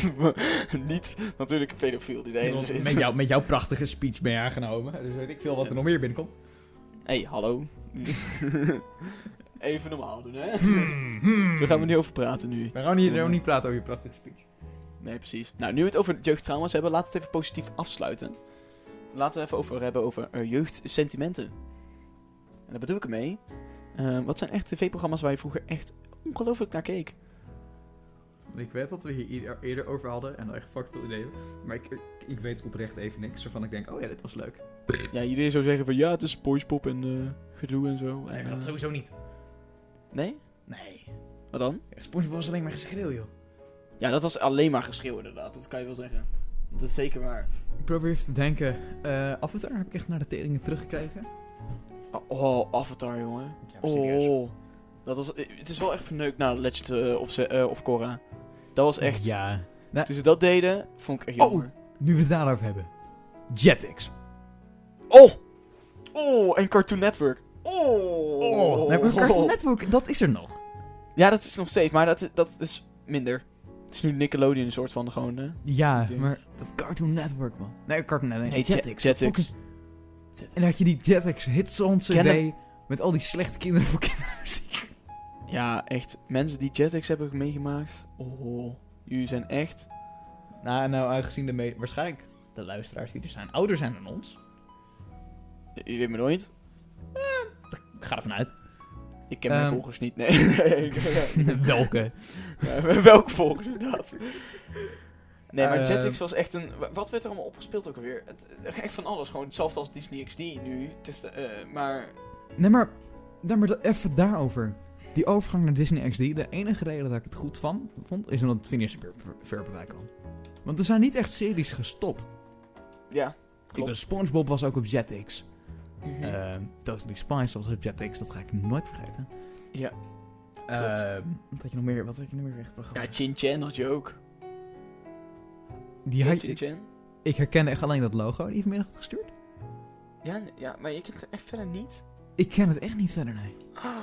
Niet natuurlijk een pedofiel die daarin zit. met, jou, met jouw prachtige speech ben je aangenomen. Dus weet ik veel wat er nog meer binnenkomt. Hé, hey, (laughs) hallo. Even normaal doen, hè? Hmm. Zo gaan we niet over praten nu. We gaan hier ook niet praten over je prachtige speech. Nee, precies. Nou, nu we het over jeugdtrauma's hebben, laten we het even positief afsluiten. Laten we even over hebben over eh, jeugdsentimenten. En daar bedoel ik ermee. eh, wat zijn echt tv-programma's waar je vroeger echt ongelooflijk naar keek? Ik weet dat we hier ieder- eerder over hadden en al echt fuck veel ideeën. Maar ik, ik, ik weet oprecht even niks. Waarvan ik denk, oh ja, dit was leuk. Ja, iedereen zou zeggen van ja, het is SpongeBob en eh, gedoe en zo. en, eh, sowieso niet. nee? Nee. Wat dan? SpongeBob was alleen maar geschreeuw, joh. Ja, dat was alleen maar geschreeuw inderdaad. Dat kan je wel zeggen. Dat is zeker waar. Ik probeer even te denken. eh Avatar heb ik echt naar de teringen teruggekregen. Oh, Avatar, jongen. Ja, Oh. Dat was, eh, het is wel echt verneukt naar Legend eh, of, Ze- eh, of Korra. Dat was echt... Ja. Toen ze dat deden, vond ik echt Oh. jammer. Nu we het daarover hebben. Jetix. Oh! Oh, en Cartoon Network. Oh! Nee, maar Cartoon Network, dat is er nog. Ja, dat is nog steeds, maar dat, dat is minder. Het is nu Nickelodeon een soort van gewoon, hè? Ja, Dus ik denk- maar dat Cartoon Network, man. Nee, Cartoon Network. Nee, Jetix. Jetix. Jetix. Fucking- En dan had je die Jetix Hitsong CD Kennen- met al die slechte kinderen voor kindermuziek. Ja, echt. Mensen die Jetix hebben meegemaakt. Oh, jullie zijn echt... Nou, nou, aangezien de me- waarschijnlijk de luisteraars die er zijn ouder zijn dan ons. Je weet me nooit. Ik ga ervan uit. Ik ken mijn Ehm. volgers niet. Nee. nee (laughs) (laughs) ik- (laughs) Welke? ja, (laughs) welke volgers inderdaad? Nee, maar Ehm. Jetix was echt een... wa- Wat werd er allemaal opgespeeld ook alweer? Het, echt van alles. Gewoon hetzelfde als Disney XD nu. Het is de- eh, maar Nee, maar, nee, maar da- even daarover. Die overgang naar Disney XD, de enige reden dat ik het goed van vond, is omdat het finish ver, ver, ver bereik kwam. Want er zijn niet echt series gestopt. ja. Ik Klopt. ben SpongeBob was ook op Jetix. Eh, Totally Spice was op Jetix, dat ga ik nooit vergeten. Ja. Ehm, Eh, wat had je nog meer, wat had je nog meer echt programma? Ja, Chin Chan had je ook. Die had Chin Chan? Ik herkende echt alleen dat logo die je vanmiddag had gestuurd. Ja, n- ja maar je kent het echt verder niet. Ik ken het echt niet verder, nee. Ah.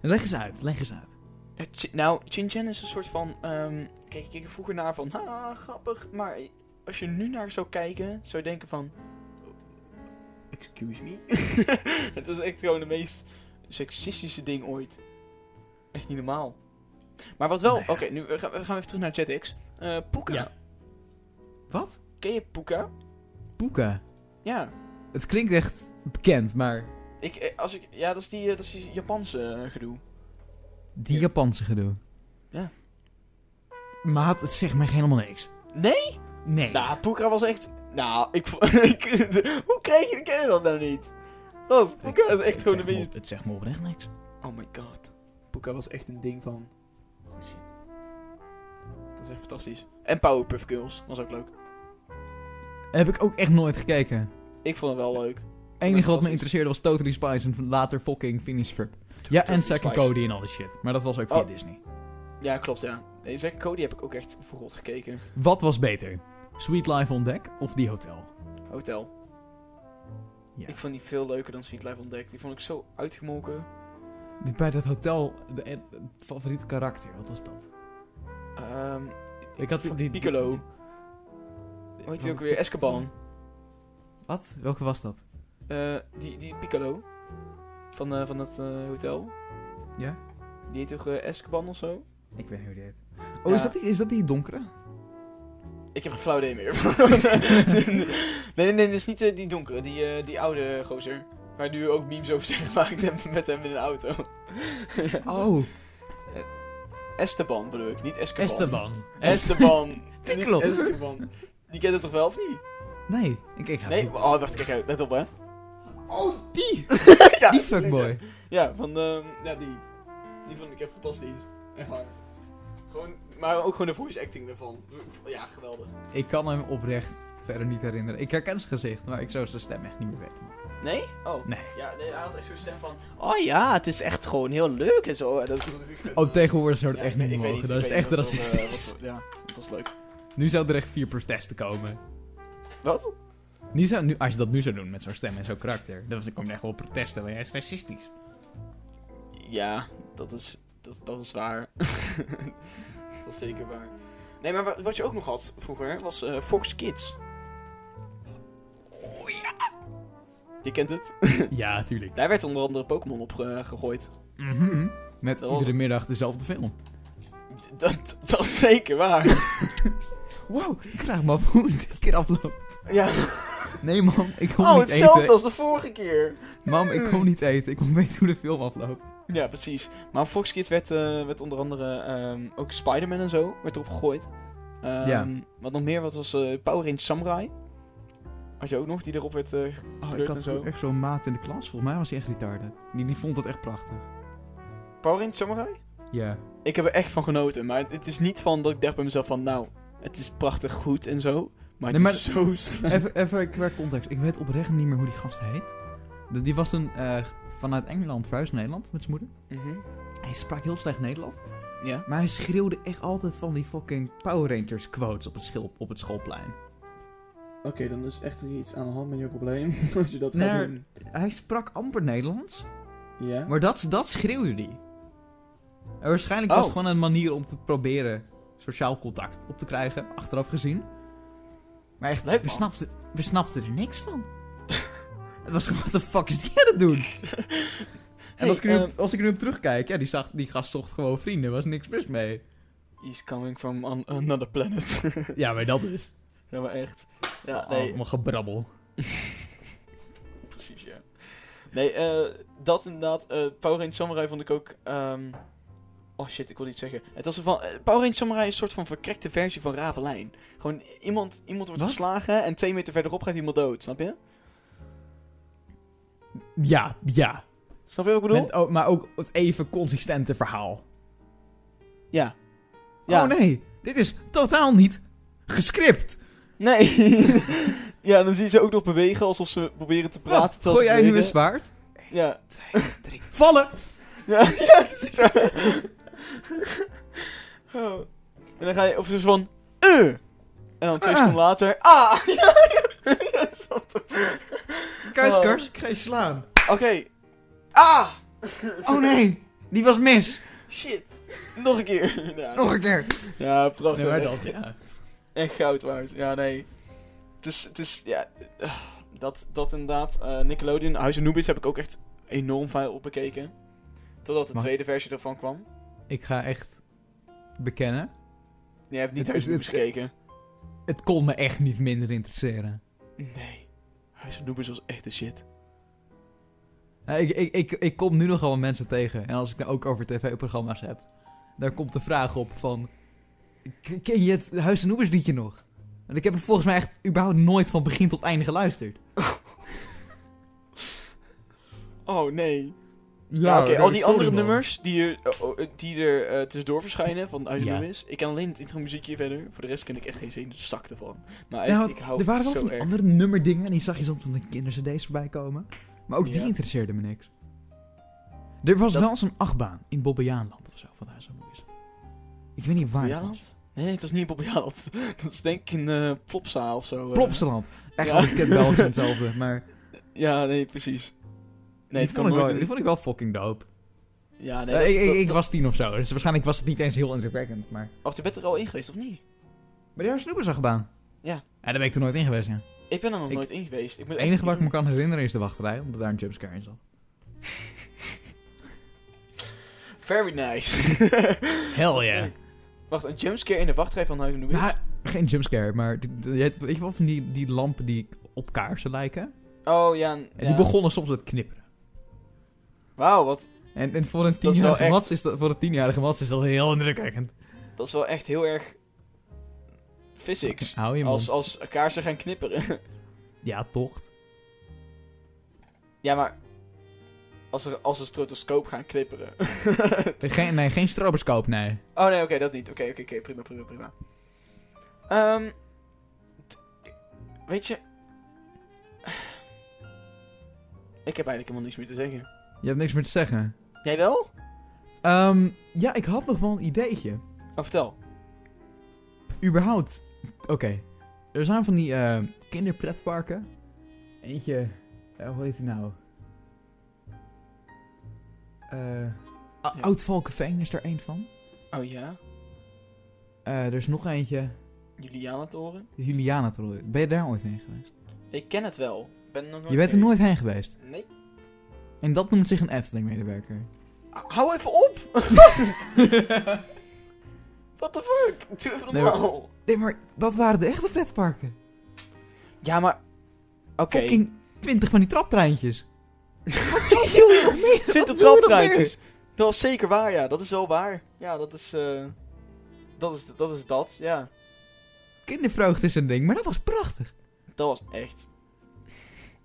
Leg eens uit, leg eens uit. Ja, Chi- nou, Shenzhen is een soort van. ehm kijk, ik keek er vroeger naar van. Ha, grappig. Maar als je nu naar zou kijken, zou je denken van. "Oh, Excuse me. (laughs) het is echt gewoon de meest seksistische ding ooit. Echt niet normaal. Maar wat wel. Nou ja. Oké, nu we gaan we gaan even terug naar ZX. Eh Puka. Ja. Wat? Ken je Puka? Boeken. Ja. Het klinkt echt bekend, maar Ik, eh, als ik, ja, dat is die, eh, dat is die Japanse eh, gedoe. die Ja. Japanse gedoe. Ja. Maat, het zegt mij helemaal niks. Nee? Nee. Nou, Poekra was echt. Nou, ik. vo- (laughs) ik hoe kreeg je, ken je dat nou niet? Dat was, Poekra is echt gewoon de meest. Het zegt me oprecht niks. Oh my god. Poekra was echt een ding van. Oh shit. Dat is echt fantastisch. En Powerpuff Girls was ook leuk. Heb ik ook echt nooit gekeken. Ik vond het wel leuk. Het enige wat me fantastisch. interesseerde was Totally Spies en later fucking Phineas Ferb. Ja, en Zack en Cody en al die shit. Maar dat was ook via Oh. Disney. Ja, klopt, ja. Nee, Zack en Cody heb ik ook echt verrot gekeken. Wat was beter? Sweet Life on Deck of Die Hotel? Hotel. Ja. Ik vond die veel leuker dan Sweet Life on Deck. Die vond ik zo uitgemolken. Die- Bij dat hotel, de, eh, het favoriete karakter, wat was dat? Ehm Ik had die- die- Piccolo. die- hoe heet die ook weer? Escoban. Wat? Welke was dat? Eh, die, die Piccolo. Van, eh, van dat eh, hotel. Ja? Die heet toch eh, Escoban of zo? Ik weet niet hoe die heet. Oh, Ja. is, dat die, is dat die donkere? (laughs) Ik heb geen flauw idee (laughs) meer. nee, nee, nee, dat is niet eh, die donkere, die, eh, die oude gozer. Waar nu ook memes over zijn gemaakt en met hem in een auto. Oh, Esteban bedoel ik, niet Escoban. Esteban. Esteban. (laughs) Die Niet klopt. Escoban. Die kent het toch wel of niet? Nee, ik, ik ga Nee? Oh, wacht, kijk uit. Let op, hè. Oh, die! ja, Die precies, ja. fuckboy. Ja, van ehm, ja, die. Die vond ik echt fantastisch. Echt waar. Gewoon, maar ook gewoon de voice acting ervan. Ja, geweldig. Ik kan hem oprecht verder niet herinneren. Ik herken zijn gezicht, maar ik zou zijn stem echt niet meer weten. Nee? Oh. Nee. Ja, nee, hij had echt zo'n stem van... Oh ja, het is echt gewoon heel leuk en zo. En dat, Oh, tegenwoordig zou dat Ja, echt ik- niet ik meer weet mogen. ik Dat is weet echt niet wat dat, eh, racistisch. wat dat- ja, dat was leuk. Nu zou er echt vier protesten komen. Wat? Nu zou, nu, als je dat nu zou doen met zo'n stem en zo'n karakter, dan komt er echt wel protesten, want jij is (laughs) racistisch. Ja, dat is, dat, dat is waar. (laughs) dat is zeker waar. Nee, maar wa- wat je ook nog had vroeger was eh, Fox Kids. Oh ja! Je kent het? ja, tuurlijk. Daar werd onder andere Pokémon op eh, gegooid. Mhm. Met Dat was- iedere middag dezelfde film. Dat, dat is zeker (laughs) waar. Wow, ik vraag me af hoe het dit keer afloopt. ja. Nee, mam, ik kom Oh, niet hetzelfde eten. als de vorige keer. Mam, ik kom niet eten. Ik wil weten hoe de film afloopt. Ja, precies. Maar op Fox Kids werd, eh, werd onder andere ehm, ook Spider-Man en zo werd erop gegooid. Ehm, Ja. Wat nog meer wat was eh, Power Range Samurai. Had je ook nog, die erop werd... eh, Oh, ik Kleurt had en zo. ook echt zo'n maat in de klas. Volgens mij was hij echt retarded. Die, die vond dat echt prachtig. Power Range Samurai? Ja. Ik heb er echt van genoten. Maar het, het is niet van dat ik dacht bij mezelf van... Nou, het is prachtig goed en zo. Maar het Nee, is zo slecht. (laughs) Even, even qua context. Ik weet oprecht niet meer hoe die gast heet. De- Die was toen eh, vanuit Engeland verhuisd naar Nederland met zijn moeder. Mhm. Hij sprak heel slecht Nederlands. Ja. Maar hij schreeuwde echt altijd van die fucking Power Rangers quotes op het, schil- op het schoolplein. Oké, dan is echt iets aan de hand met je probleem. (laughs) Als je dat gaat Nee. doen. Hij sprak amper Nederlands, Ja. maar dat, dat schreeuwde hij. En waarschijnlijk Oh. was het gewoon een manier om te proberen sociaal contact op te krijgen, achteraf gezien. Maar echt, Leuk, we, man. snapten, we snapten er niks van. (laughs) het was gewoon, wat de fuck is die aan het doen? (laughs) en Hey, als ik, nu, ehm, als ik nu op terugkijk, ja, die, zag, die gast zocht gewoon vrienden, er was niks mis mee. He's coming from an- another planet. (laughs) Ja, maar dat is. ja, maar echt. Ja, Nee. nee. Allemaal gebrabbel. Precies, ja. Nee, eh, dat inderdaad. eh Power Range Samurai vond ik ook... ehm, Oh shit, ik wil iets zeggen. Het was een van, eh, Power Range Samurai is een soort van verkrekte versie van Ravelijn. Gewoon iemand, iemand wordt Wat? geslagen en twee meter verderop gaat iemand dood. Snap je? Ja, ja. Snap je wat ik bedoel? Met, oh, maar ook het even consistente verhaal. Ja. Ja. Oh nee, dit is totaal niet gescript. nee. (laughs) ja, dan zie je ze ook nog bewegen alsof ze proberen te praten. Wat? terwijl ze Gooi jij nu een bewegen. zwaard? Ja. Vallen! Ja, (laughs) ja, zit er. oh. En dan ga je, of zo van, eh. En dan twee Ah. seconden later... Ah! (laughs) Ja, ja, ja, snap het. Kijk, Oh. Kars, ik ga je slaan. Oké. Ah! Oh nee, die was mis. Shit. Nog een keer. (laughs) Ja, Nog een dat- keer. Ja, prachtig. Nee, maar echt, dat, ja. echt goud waard. Ja, nee. Het is, het is ja... eh, Dat, dat inderdaad. eh, Nickelodeon, Huis en Noobis heb ik ook echt enorm veel op bekeken. Totdat de Mag- tweede versie ervan kwam. Ik ga echt bekennen. Nee, je hebt niet Het- Huis en het- Noobis gekeken. Het kon me echt niet minder interesseren. Nee. Huis en Noobis was echt de shit. Nou, ik, ik, ik, ik kom nu nogal mensen tegen. En als ik nou ook over tv-programma's heb. Daar komt de vraag op van... "K- Ken je het Huis en Hoebers liedje nog? Want ik heb er volgens mij echt überhaupt nooit van begin tot einde geluisterd. Oh, nee. Ja, oké. Al die andere nummers die er, oh, oh, eh, die er eh, tussendoor verschijnen van Huis en Ja. Noobis. Ik ken alleen het intro muziekje verder. Voor de rest ken ik echt geen zin dus zak ervan. Maar ik, Nou, ik hou er waren wel Oh, zo van die erg. andere nummerdingen. En die zag je soms van de kindercd's voorbij komen. Maar ook die Ja. interesseerde me niks. Er was Dat- wel eens een achtbaan in Bobbejaanland of zo van Huis en Hoebers. Ik weet niet waar het was. Bobbejaanland? Nee, nee, het was niet in Bobbejaanland. (laughs) Dat is denk ik een eh plopsaal of zo. eh. Plopsaland. Echt, Ja. ik ken (laughs) wel eens hetzelfde, maar... Ja, nee, precies. Nee, die het vond kan ik wel- nooit... Die een- vond ik wel fucking dope. Ja, nee, Ja, dat, ik, ik, dat- ik was tien of zo, dus waarschijnlijk was het niet eens heel indrukwekkend. Maar Oh, je bent er al in geweest, of niet? bij de snoeperzag gedaan. Ja. Ja, daar ben ik toen nooit in geweest. Ja. Ik ben er nog Ik- nooit in geweest. Ik moet Het echt- enige wat ik me kan herinneren is de wachtrij, omdat daar een jumpscare in zat. Very nice. (laughs) Hell yeah. Wacht, een jumpscare in de wachtrij van Huis en de Wind? Nou, geen jumpscare, maar d- d- je hebt- weet je wel van die, die lampen die op kaarsen lijken? Oh, ja. n- En ja. die begonnen soms met knipperen. Wauw, wat... En, en voor een wel tienjarige echt- mats is dat, voor een tienjarige mats is dat heel indrukwekkend. Dat is wel echt heel erg... Physics. Hou je mond. Als, als kaarsen gaan knipperen. (laughs) Ja, tocht. ja, maar... Als, er, als een stroboscoop gaan knipperen. (laughs) Geen, nee, geen stroboscoop, nee. Oh nee, oké, dat niet. Oké, oké, oké, prima, prima, prima. Ehm, t- weet je... (sighs) Ik heb eigenlijk helemaal niks meer te zeggen. Je hebt niks meer te zeggen. Jij wel? Ehm, ja, ik had nog wel een ideetje. Oh, vertel. überhaupt. Oké. Er zijn van die eh, kinderpretparken. Eentje. eh, hoe heet die nou? Eh O- Ja. Oud Valkenveen is er een van. Oh ja, Eh, er is nog eentje. Juliana-toren. Juliana Troy. Ben je daar ooit heen geweest? Ik ken het wel. Ik Ben er nooit je bent er geweest. nooit heen geweest. Nee. En dat noemt zich een Efteling-medewerker. Ah, Hou even (laughs) op! What the fuck? Doe even Nee, normaal. Nee, maar dat waren de echte pretparken. Ja, maar... Oké. Fucking 20 van die (laughs) traptreintjes. 20 (laughs) Wat wil je nog traptruitjes. Dat is zeker waar, ja. Dat is wel waar. Ja, dat is... eh, Dat is dat, is dat ja. Kindervreugde is een ding, maar dat was prachtig. Dat was echt.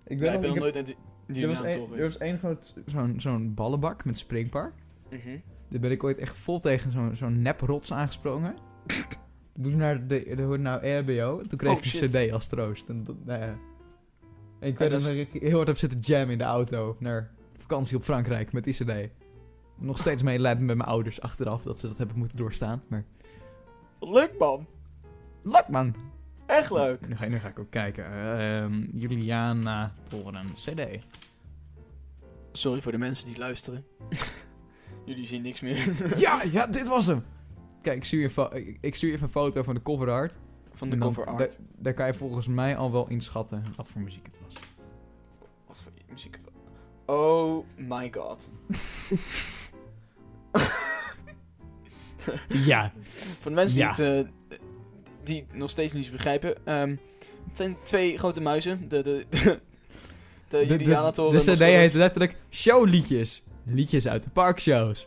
Ik Ja, ik ben nog nooit naar die Er was, Juliana één, Toren er was één groot... Zo'n zo'n ballenbak met springpark. Mhm. Daar ben ik ooit echt vol tegen zo'n zo'n neprots aangesprongen. Toen moest ik naar de, de, hoe- nou, naar RBO. Toen kreeg Oh, ik een shit. cd als troost. En, dat, nou ja. En Ja, ik weet dat nog dat ik heel hard heb zitten jammen in de auto. Naar vakantie op Frankrijk met die cd. Nog steeds medelijden met mijn ouders achteraf. Dat ze dat hebben moeten doorstaan. Maar Mhm. Leuk, man. leuk man. Echt leuk. Nu ga, nu ga ik ook kijken. Ehm, Juliana Toren cd. Sorry voor de mensen die luisteren. (laughs) Jullie zien niks meer. (laughs) ja, ja, dit was hem. Kijk, ik stuur je een, fo- ik- ik stuur je even een foto van de cover art. Van de En dan- cover art. Daar, daar kan je volgens mij al wel inschatten wat voor muziek het was. Wat voor muziek. Oh my god. Ja. Voor de mensen Ja. die, het, eh, die het nog steeds niet begrijpen. ehm, het zijn twee grote muizen. De, de, (laughs) de, de De, de, Juliana Toren. de cd Nosferatu. heet letterlijk Showliedjes. Liedjes uit de parkshows.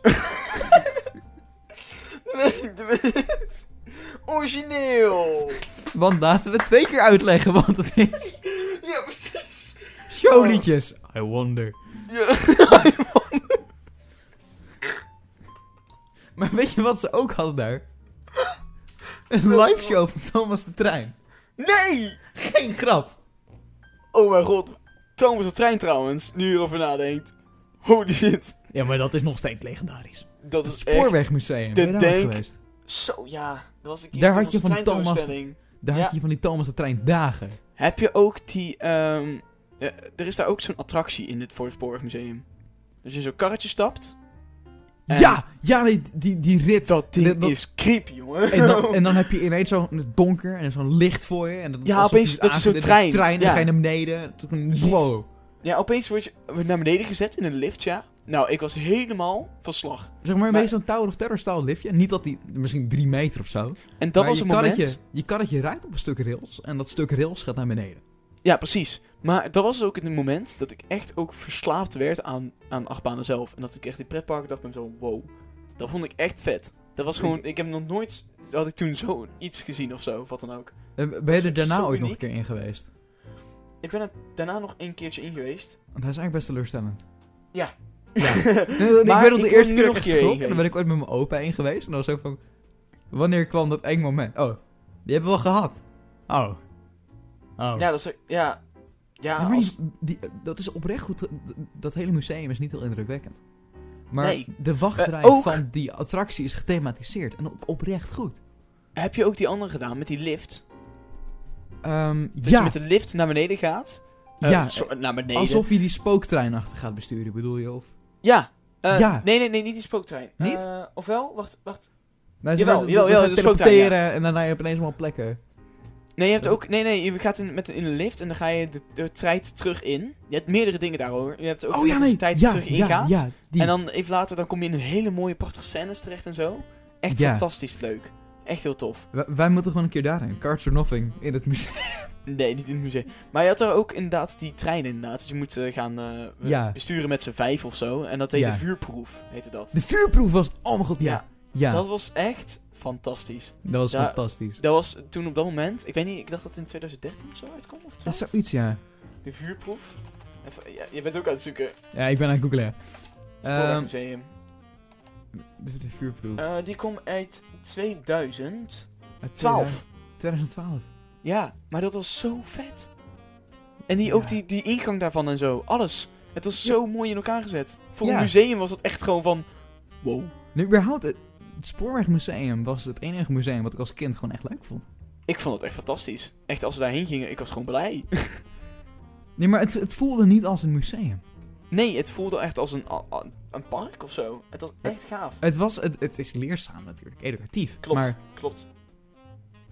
(laughs) (laughs) De mens- Origineel. Want laten we het twee keer uitleggen wat het is. (laughs) Ja, precies. Showliedjes. I wonder. Ja. Maar weet je wat ze ook (laughs) hadden daar? Een live show van Thomas de Trein. Nee! Geen grap. Oh mijn god. Thomas de trein trouwens. Nu je erover nadenkt. Holy shit. Ja, maar dat is nog steeds legendarisch. Dat Het is echt... de Spoorwegmuseum. Ben je daar ooit denk- geweest? Zo ja. Dat was een keer Daar had Thomas je de van Trein Thomas de- tentoonstelling. Daar Ja. had je van die Thomas de Trein dagen. Heb je ook die... ehm, eh, er is daar ook zo'n attractie in het Voorsborg Museum. Dus je zo'n karretje stapt. En Ja! Ja, die, die, die rit. Dat ding dat- is creepy, jongen. En dan, en dan heb je ineens zo'n donker en zo'n licht voor je. En dat, Ja, alsof opeens iets dat je zo'n aanzet in trein- De trein, dan ja. ga je naar beneden. Toen- Precies. Wow. (laughs) Ja, opeens word je naar beneden gezet in een lift, ja. Nou, ik was helemaal van slag. Zeg maar, Maar- maar... zo'n Tower of Terror-style liftje. Niet dat die, misschien drie meter of zo. En dat Maar was je een moment... karretje- Je karretje rijdt op een stuk rails en dat stuk rails gaat naar beneden. Ja, precies. Maar dat was ook het moment dat ik echt ook verslaafd werd aan, aan achtbanen zelf. En dat ik echt in pretparken dacht bij mezelf, wow. Dat vond ik echt vet. Dat was gewoon, ik heb nog nooit, had ik toen zoiets gezien of zo, of wat dan ook. Eh, Ben is je er daarna zo ooit nog een uniek. keer in geweest? Ik ben er daarna nog een keertje in geweest. Want hij is eigenlijk best teleurstellend. Ja. (laughs) Ja. Maar ik ben ik op de wil eerste nu keer nog echt een keer geschrokken heen en dan ben ik ooit met mijn opa heen geweest. En dan was ook van, wanneer kwam dat eng moment? Oh, die hebben we al gehad. Oh. Oh. Ja, dat is, ja, ja, Ja, maar die- als- die- eh, dat is oprecht goed. dat- Dat hele museum is niet heel indrukwekkend. Maar Nee. de wachtrij Eh, ook- van die attractie is gethematiseerd. En ook oprecht goed. heb je ook die andere gedaan met die lift? Ehm, Dat je met de lift naar beneden gaat? Eh, ja, zo- naar beneden. alsof je die spooktrein achter gaat besturen, bedoel je? Of... Ja. eh, Ja. Nee, nee, nee, niet die spooktrein. Niet? Eh, ofwel, wacht, wacht. Nou, Jawel, dat- jawel, dat- jawel, dat de ze spooktrein, teleporteren En daarna heb je ineens allemaal plekken. Nee, je hebt Dat is- ook. Nee, nee, je gaat in, met, in een lift en dan ga je de, de trein terug in. Je hebt meerdere dingen daarover. Je hebt ook dat de tijd terug Oh ja, ingaat. ja, die. En dan even later dan kom je in een hele mooie, prachtige scènes terecht en zo. Echt Ja. fantastisch leuk. Echt heel tof. Wij, wij moeten gewoon een keer daarheen. Cards or Nothing in het museum. Nee, niet in het museum. Maar je had er ook inderdaad die trein inderdaad. Dus je moet eh, gaan eh, Ja. besturen met z'n vijf of zo. En dat heette Ja. vuurproef, heette dat. (laughs) De vuurproef was... Oh mijn god, ja. Ja, Dat was echt fantastisch. dat was Ja. fantastisch. Dat was toen op dat moment, ik weet niet, ik dacht dat het in 2013 of zo uitkwam of Dat is 12. zoiets, ja. De vuurproef. Even, ja, je bent ook aan het zoeken. Ja, ik ben aan het googlen. Ehm, Spoorwegmuseum. de, de vuurproef. Eh, die komt uit 2012. Uit 2012. Ja, maar dat was zo vet. En die, ook Ja. die, die ingang daarvan en zo. Alles. Het was zo mooi in elkaar gezet. Voor Ja. een museum was dat echt gewoon van... Wow. Nu, überhaupt, het, het Spoorwegmuseum was het enige museum wat ik als kind gewoon echt leuk vond. Ik vond het echt fantastisch. Echt, als we daarheen gingen, ik was gewoon (laughs) blij. Nee, maar het, het voelde niet als een museum. nee, het voelde echt als een, a- a- een park of zo. Het was echt gaaf. Het, was, het, het is leerzaam natuurlijk, educatief. Klopt, Maar klopt.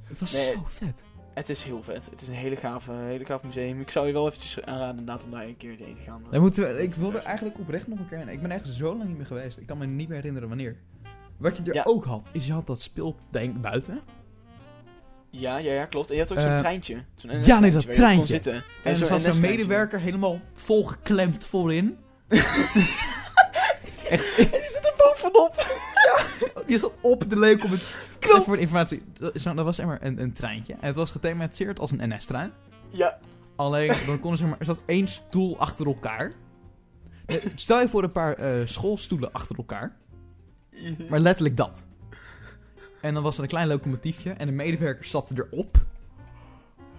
het was Nee. zo vet. Het is heel vet. Het is een hele gaaf, hele gaaf museum. Ik zou je wel eventjes aanraden inderdaad om daar een keer heen te gaan. eh. Dan moeten we, ik wil er eigenlijk oprecht nog een keer in. Ik ben echt zo lang niet meer geweest. Ik kan me niet meer herinneren wanneer. Wat je er Ja. ook had, is je had dat speelding buiten. Ja, ja, ja, klopt. En je had ook zo'n Eh, treintje. Zo'n NS ja, nee, dat waar je op kon treintje. zitten. En, En er zo'n zat zo'n NS-treintje. (laughs) medewerker helemaal volgeklemd voorin. Die zit er (laughs) bovenop. Die zat (laughs) op de leuk om het Even voor Klopt. de informatie. Dat is- nou, dat was zeg maar een, een treintje. En het was gethematiseerd als een NS-trein. Ja. (laughs) Alleen, dan kon er, zeg maar, er zat één stoel achter elkaar. Eh, Stel je voor een paar eh, schoolstoelen achter elkaar. Maar letterlijk dat. En dan was er een klein locomotiefje en de medewerker zat erop.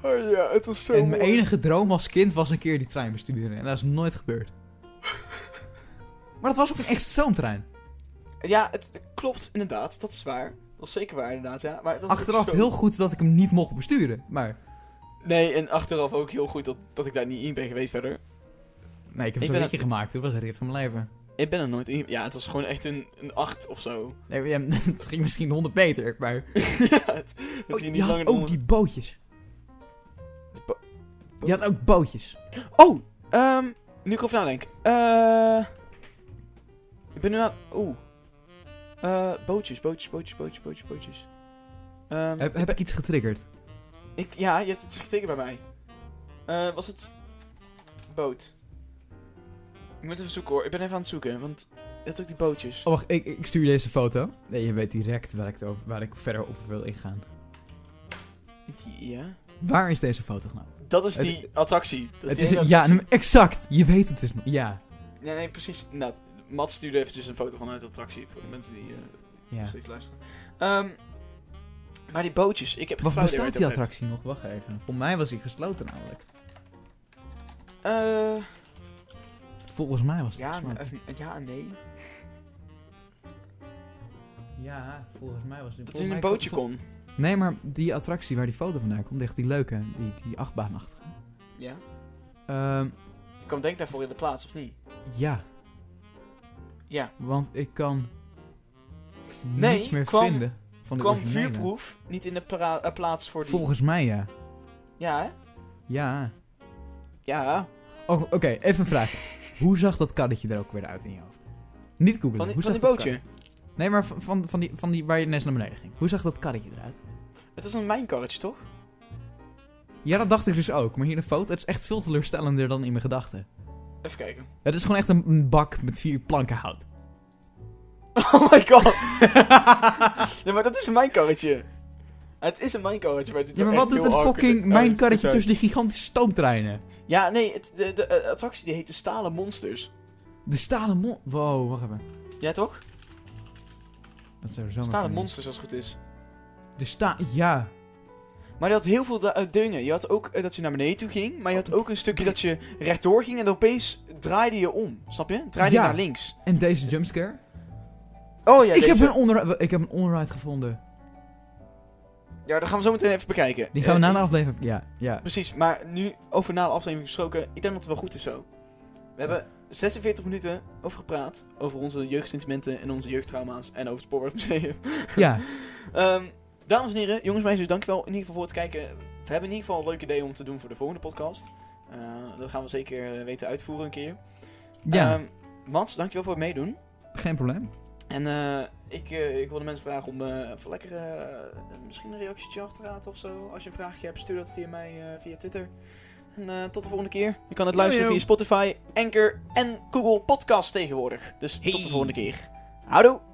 Oh ja, het was zo en mijn mooi. enige droom als kind was een keer die trein besturen. En dat is nooit (laughs) gebeurd. Maar dat was ook een echt zo'n trein. Ja, het klopt inderdaad. Dat is waar. Dat is zeker waar inderdaad, ja. Maar het was ook Achteraf zo- heel goed dat ik hem niet mocht besturen. Maar Nee, en achteraf ook heel goed dat, dat ik daar niet in ben geweest verder. nee, ik heb Ik zo'n ben ritje gemaakt. Dat was een rit van mijn leven. Ik ben er nooit in... Ja, het was gewoon echt een, een acht of zo. (laughs) Nee, maar ja, (laughs) het ging misschien 100 meter, maar... ja, het, het Oh, ging je niet had langer ook dan... die bootjes. De bo- Je had ook bootjes. Oh, ehm, nu ik over nadenk. Eh ik ben nu aan... Oeh. Eh, bootjes, bootjes, bootjes, bootjes, bootjes, bootjes. Ehm, Heb, heb ik iets getriggerd? ik, ja, je hebt het dus getekend bij mij. Eh, was het... Boot. Ik moet even zoeken hoor. Ik ben even aan het zoeken, want... Je had ook die bootjes. Oh, wacht, ik, ik stuur je deze foto. Nee, je weet direct waar ik, het over, waar ik verder op wil ingaan. Ja. Waar is deze foto nou? Dat is Het- die attractie. Dat Het die is, ene ja, attractie. nee, exact. Je weet het dus nog. Ja. Nee, nee, precies. Inderdaad. Matt stuurde eventjes een foto vanuit de attractie. Voor de mensen die eh, nog ja. steeds luisteren. Ehm, maar die bootjes. Ik heb geen flauw Wacht, idee bestaat die waar het over attractie nog? Wacht even. Voor mij was die gesloten namelijk. Eh, Volgens mij was die ja, gesloten. eh, ja, nee. ja, volgens mij was die... Dat volgens hij in mij- een bootje kon. Nee, maar die attractie waar die foto vandaan komt, echt die leuke, die, die achtbaanachtige. Ja? Ehm, Je komt denk ik daarvoor in de plaats, of niet? ja, Ja. want ik kan Nee, niets meer kwam- vinden van de Kwam originele. vuurproef niet in de pra- eh, plaats voor die... Volgens mij ja. Ja, hè? Ja. Ja. Oh, Oké, even een vraag. (laughs) Hoe zag dat karretje er ook weer uit in je hoofd? Niet googlen. Van die, Hoe van die zag dat bootje. karretje- Nee, maar van, van, van die, van die waar je net naar beneden ging. Hoe zag dat karretje eruit? Het was een mijnkarretje, toch? Ja, dat dacht ik dus ook. Maar hier een foto, het is echt veel teleurstellender dan in mijn gedachten. Even kijken. Het is gewoon echt een- een bak met vier planken hout. (laughs) Oh my (laughs) god. nee, maar dat is een mijnkarretje. Het is een mijnkarretje, maar het ziet Ja, er maar wat echt doet heel een awkward fucking uit. mijn karretje Oh, het ziet tussen die gigantische stoomtreinen? eruit. Ja, nee, het, de, de eh, attractie die heet de Stalen Monsters. De stalen mon... Wow, wacht even. Ja, Oh, toch? Dat zou zo Stalen Monsters, als het goed is. De sta... Ja. Maar je had heel veel da- eh, dingen. Je had ook eh, dat je naar beneden toe ging, maar je had ook een stukje dat je rechtdoor ging en dan opeens draaide je om. Snap je? Draaide Ja. je naar links. En deze jumpscare? Oh ja, ik, heb deze. een onri- ik heb een onride gevonden. Ja, dat gaan we zo meteen even bekijken. Die gaan we Eh, na de aflevering... Ja, ja. Precies, maar nu over na de aflevering gesproken, ik denk dat het wel goed is zo. We hebben 46 minuten over gepraat, over onze jeugdsentimenten en onze jeugdtrauma's en over het Spoorwegmuseum. Ja. (laughs) Ehm, dames en heren, jongens en meisjes, dankjewel in ieder geval voor het kijken. We hebben in ieder geval een leuk idee om te doen voor de volgende podcast. Eh, dat gaan we zeker eh, weten uitvoeren een keer. Ja, Ehm, Mats, dankjewel voor het meedoen. geen probleem. En eh, ik, eh, ik wil de mensen vragen om eh, even lekker eh, misschien een reactietje achter te laten of zo. Als je een vraagje hebt, stuur dat via mij eh, via Twitter. En eh, tot de volgende keer. Je kan het luisteren Yo, yo. via Spotify, Anchor en Google Podcast tegenwoordig. Dus tot de volgende keer. Houdoe!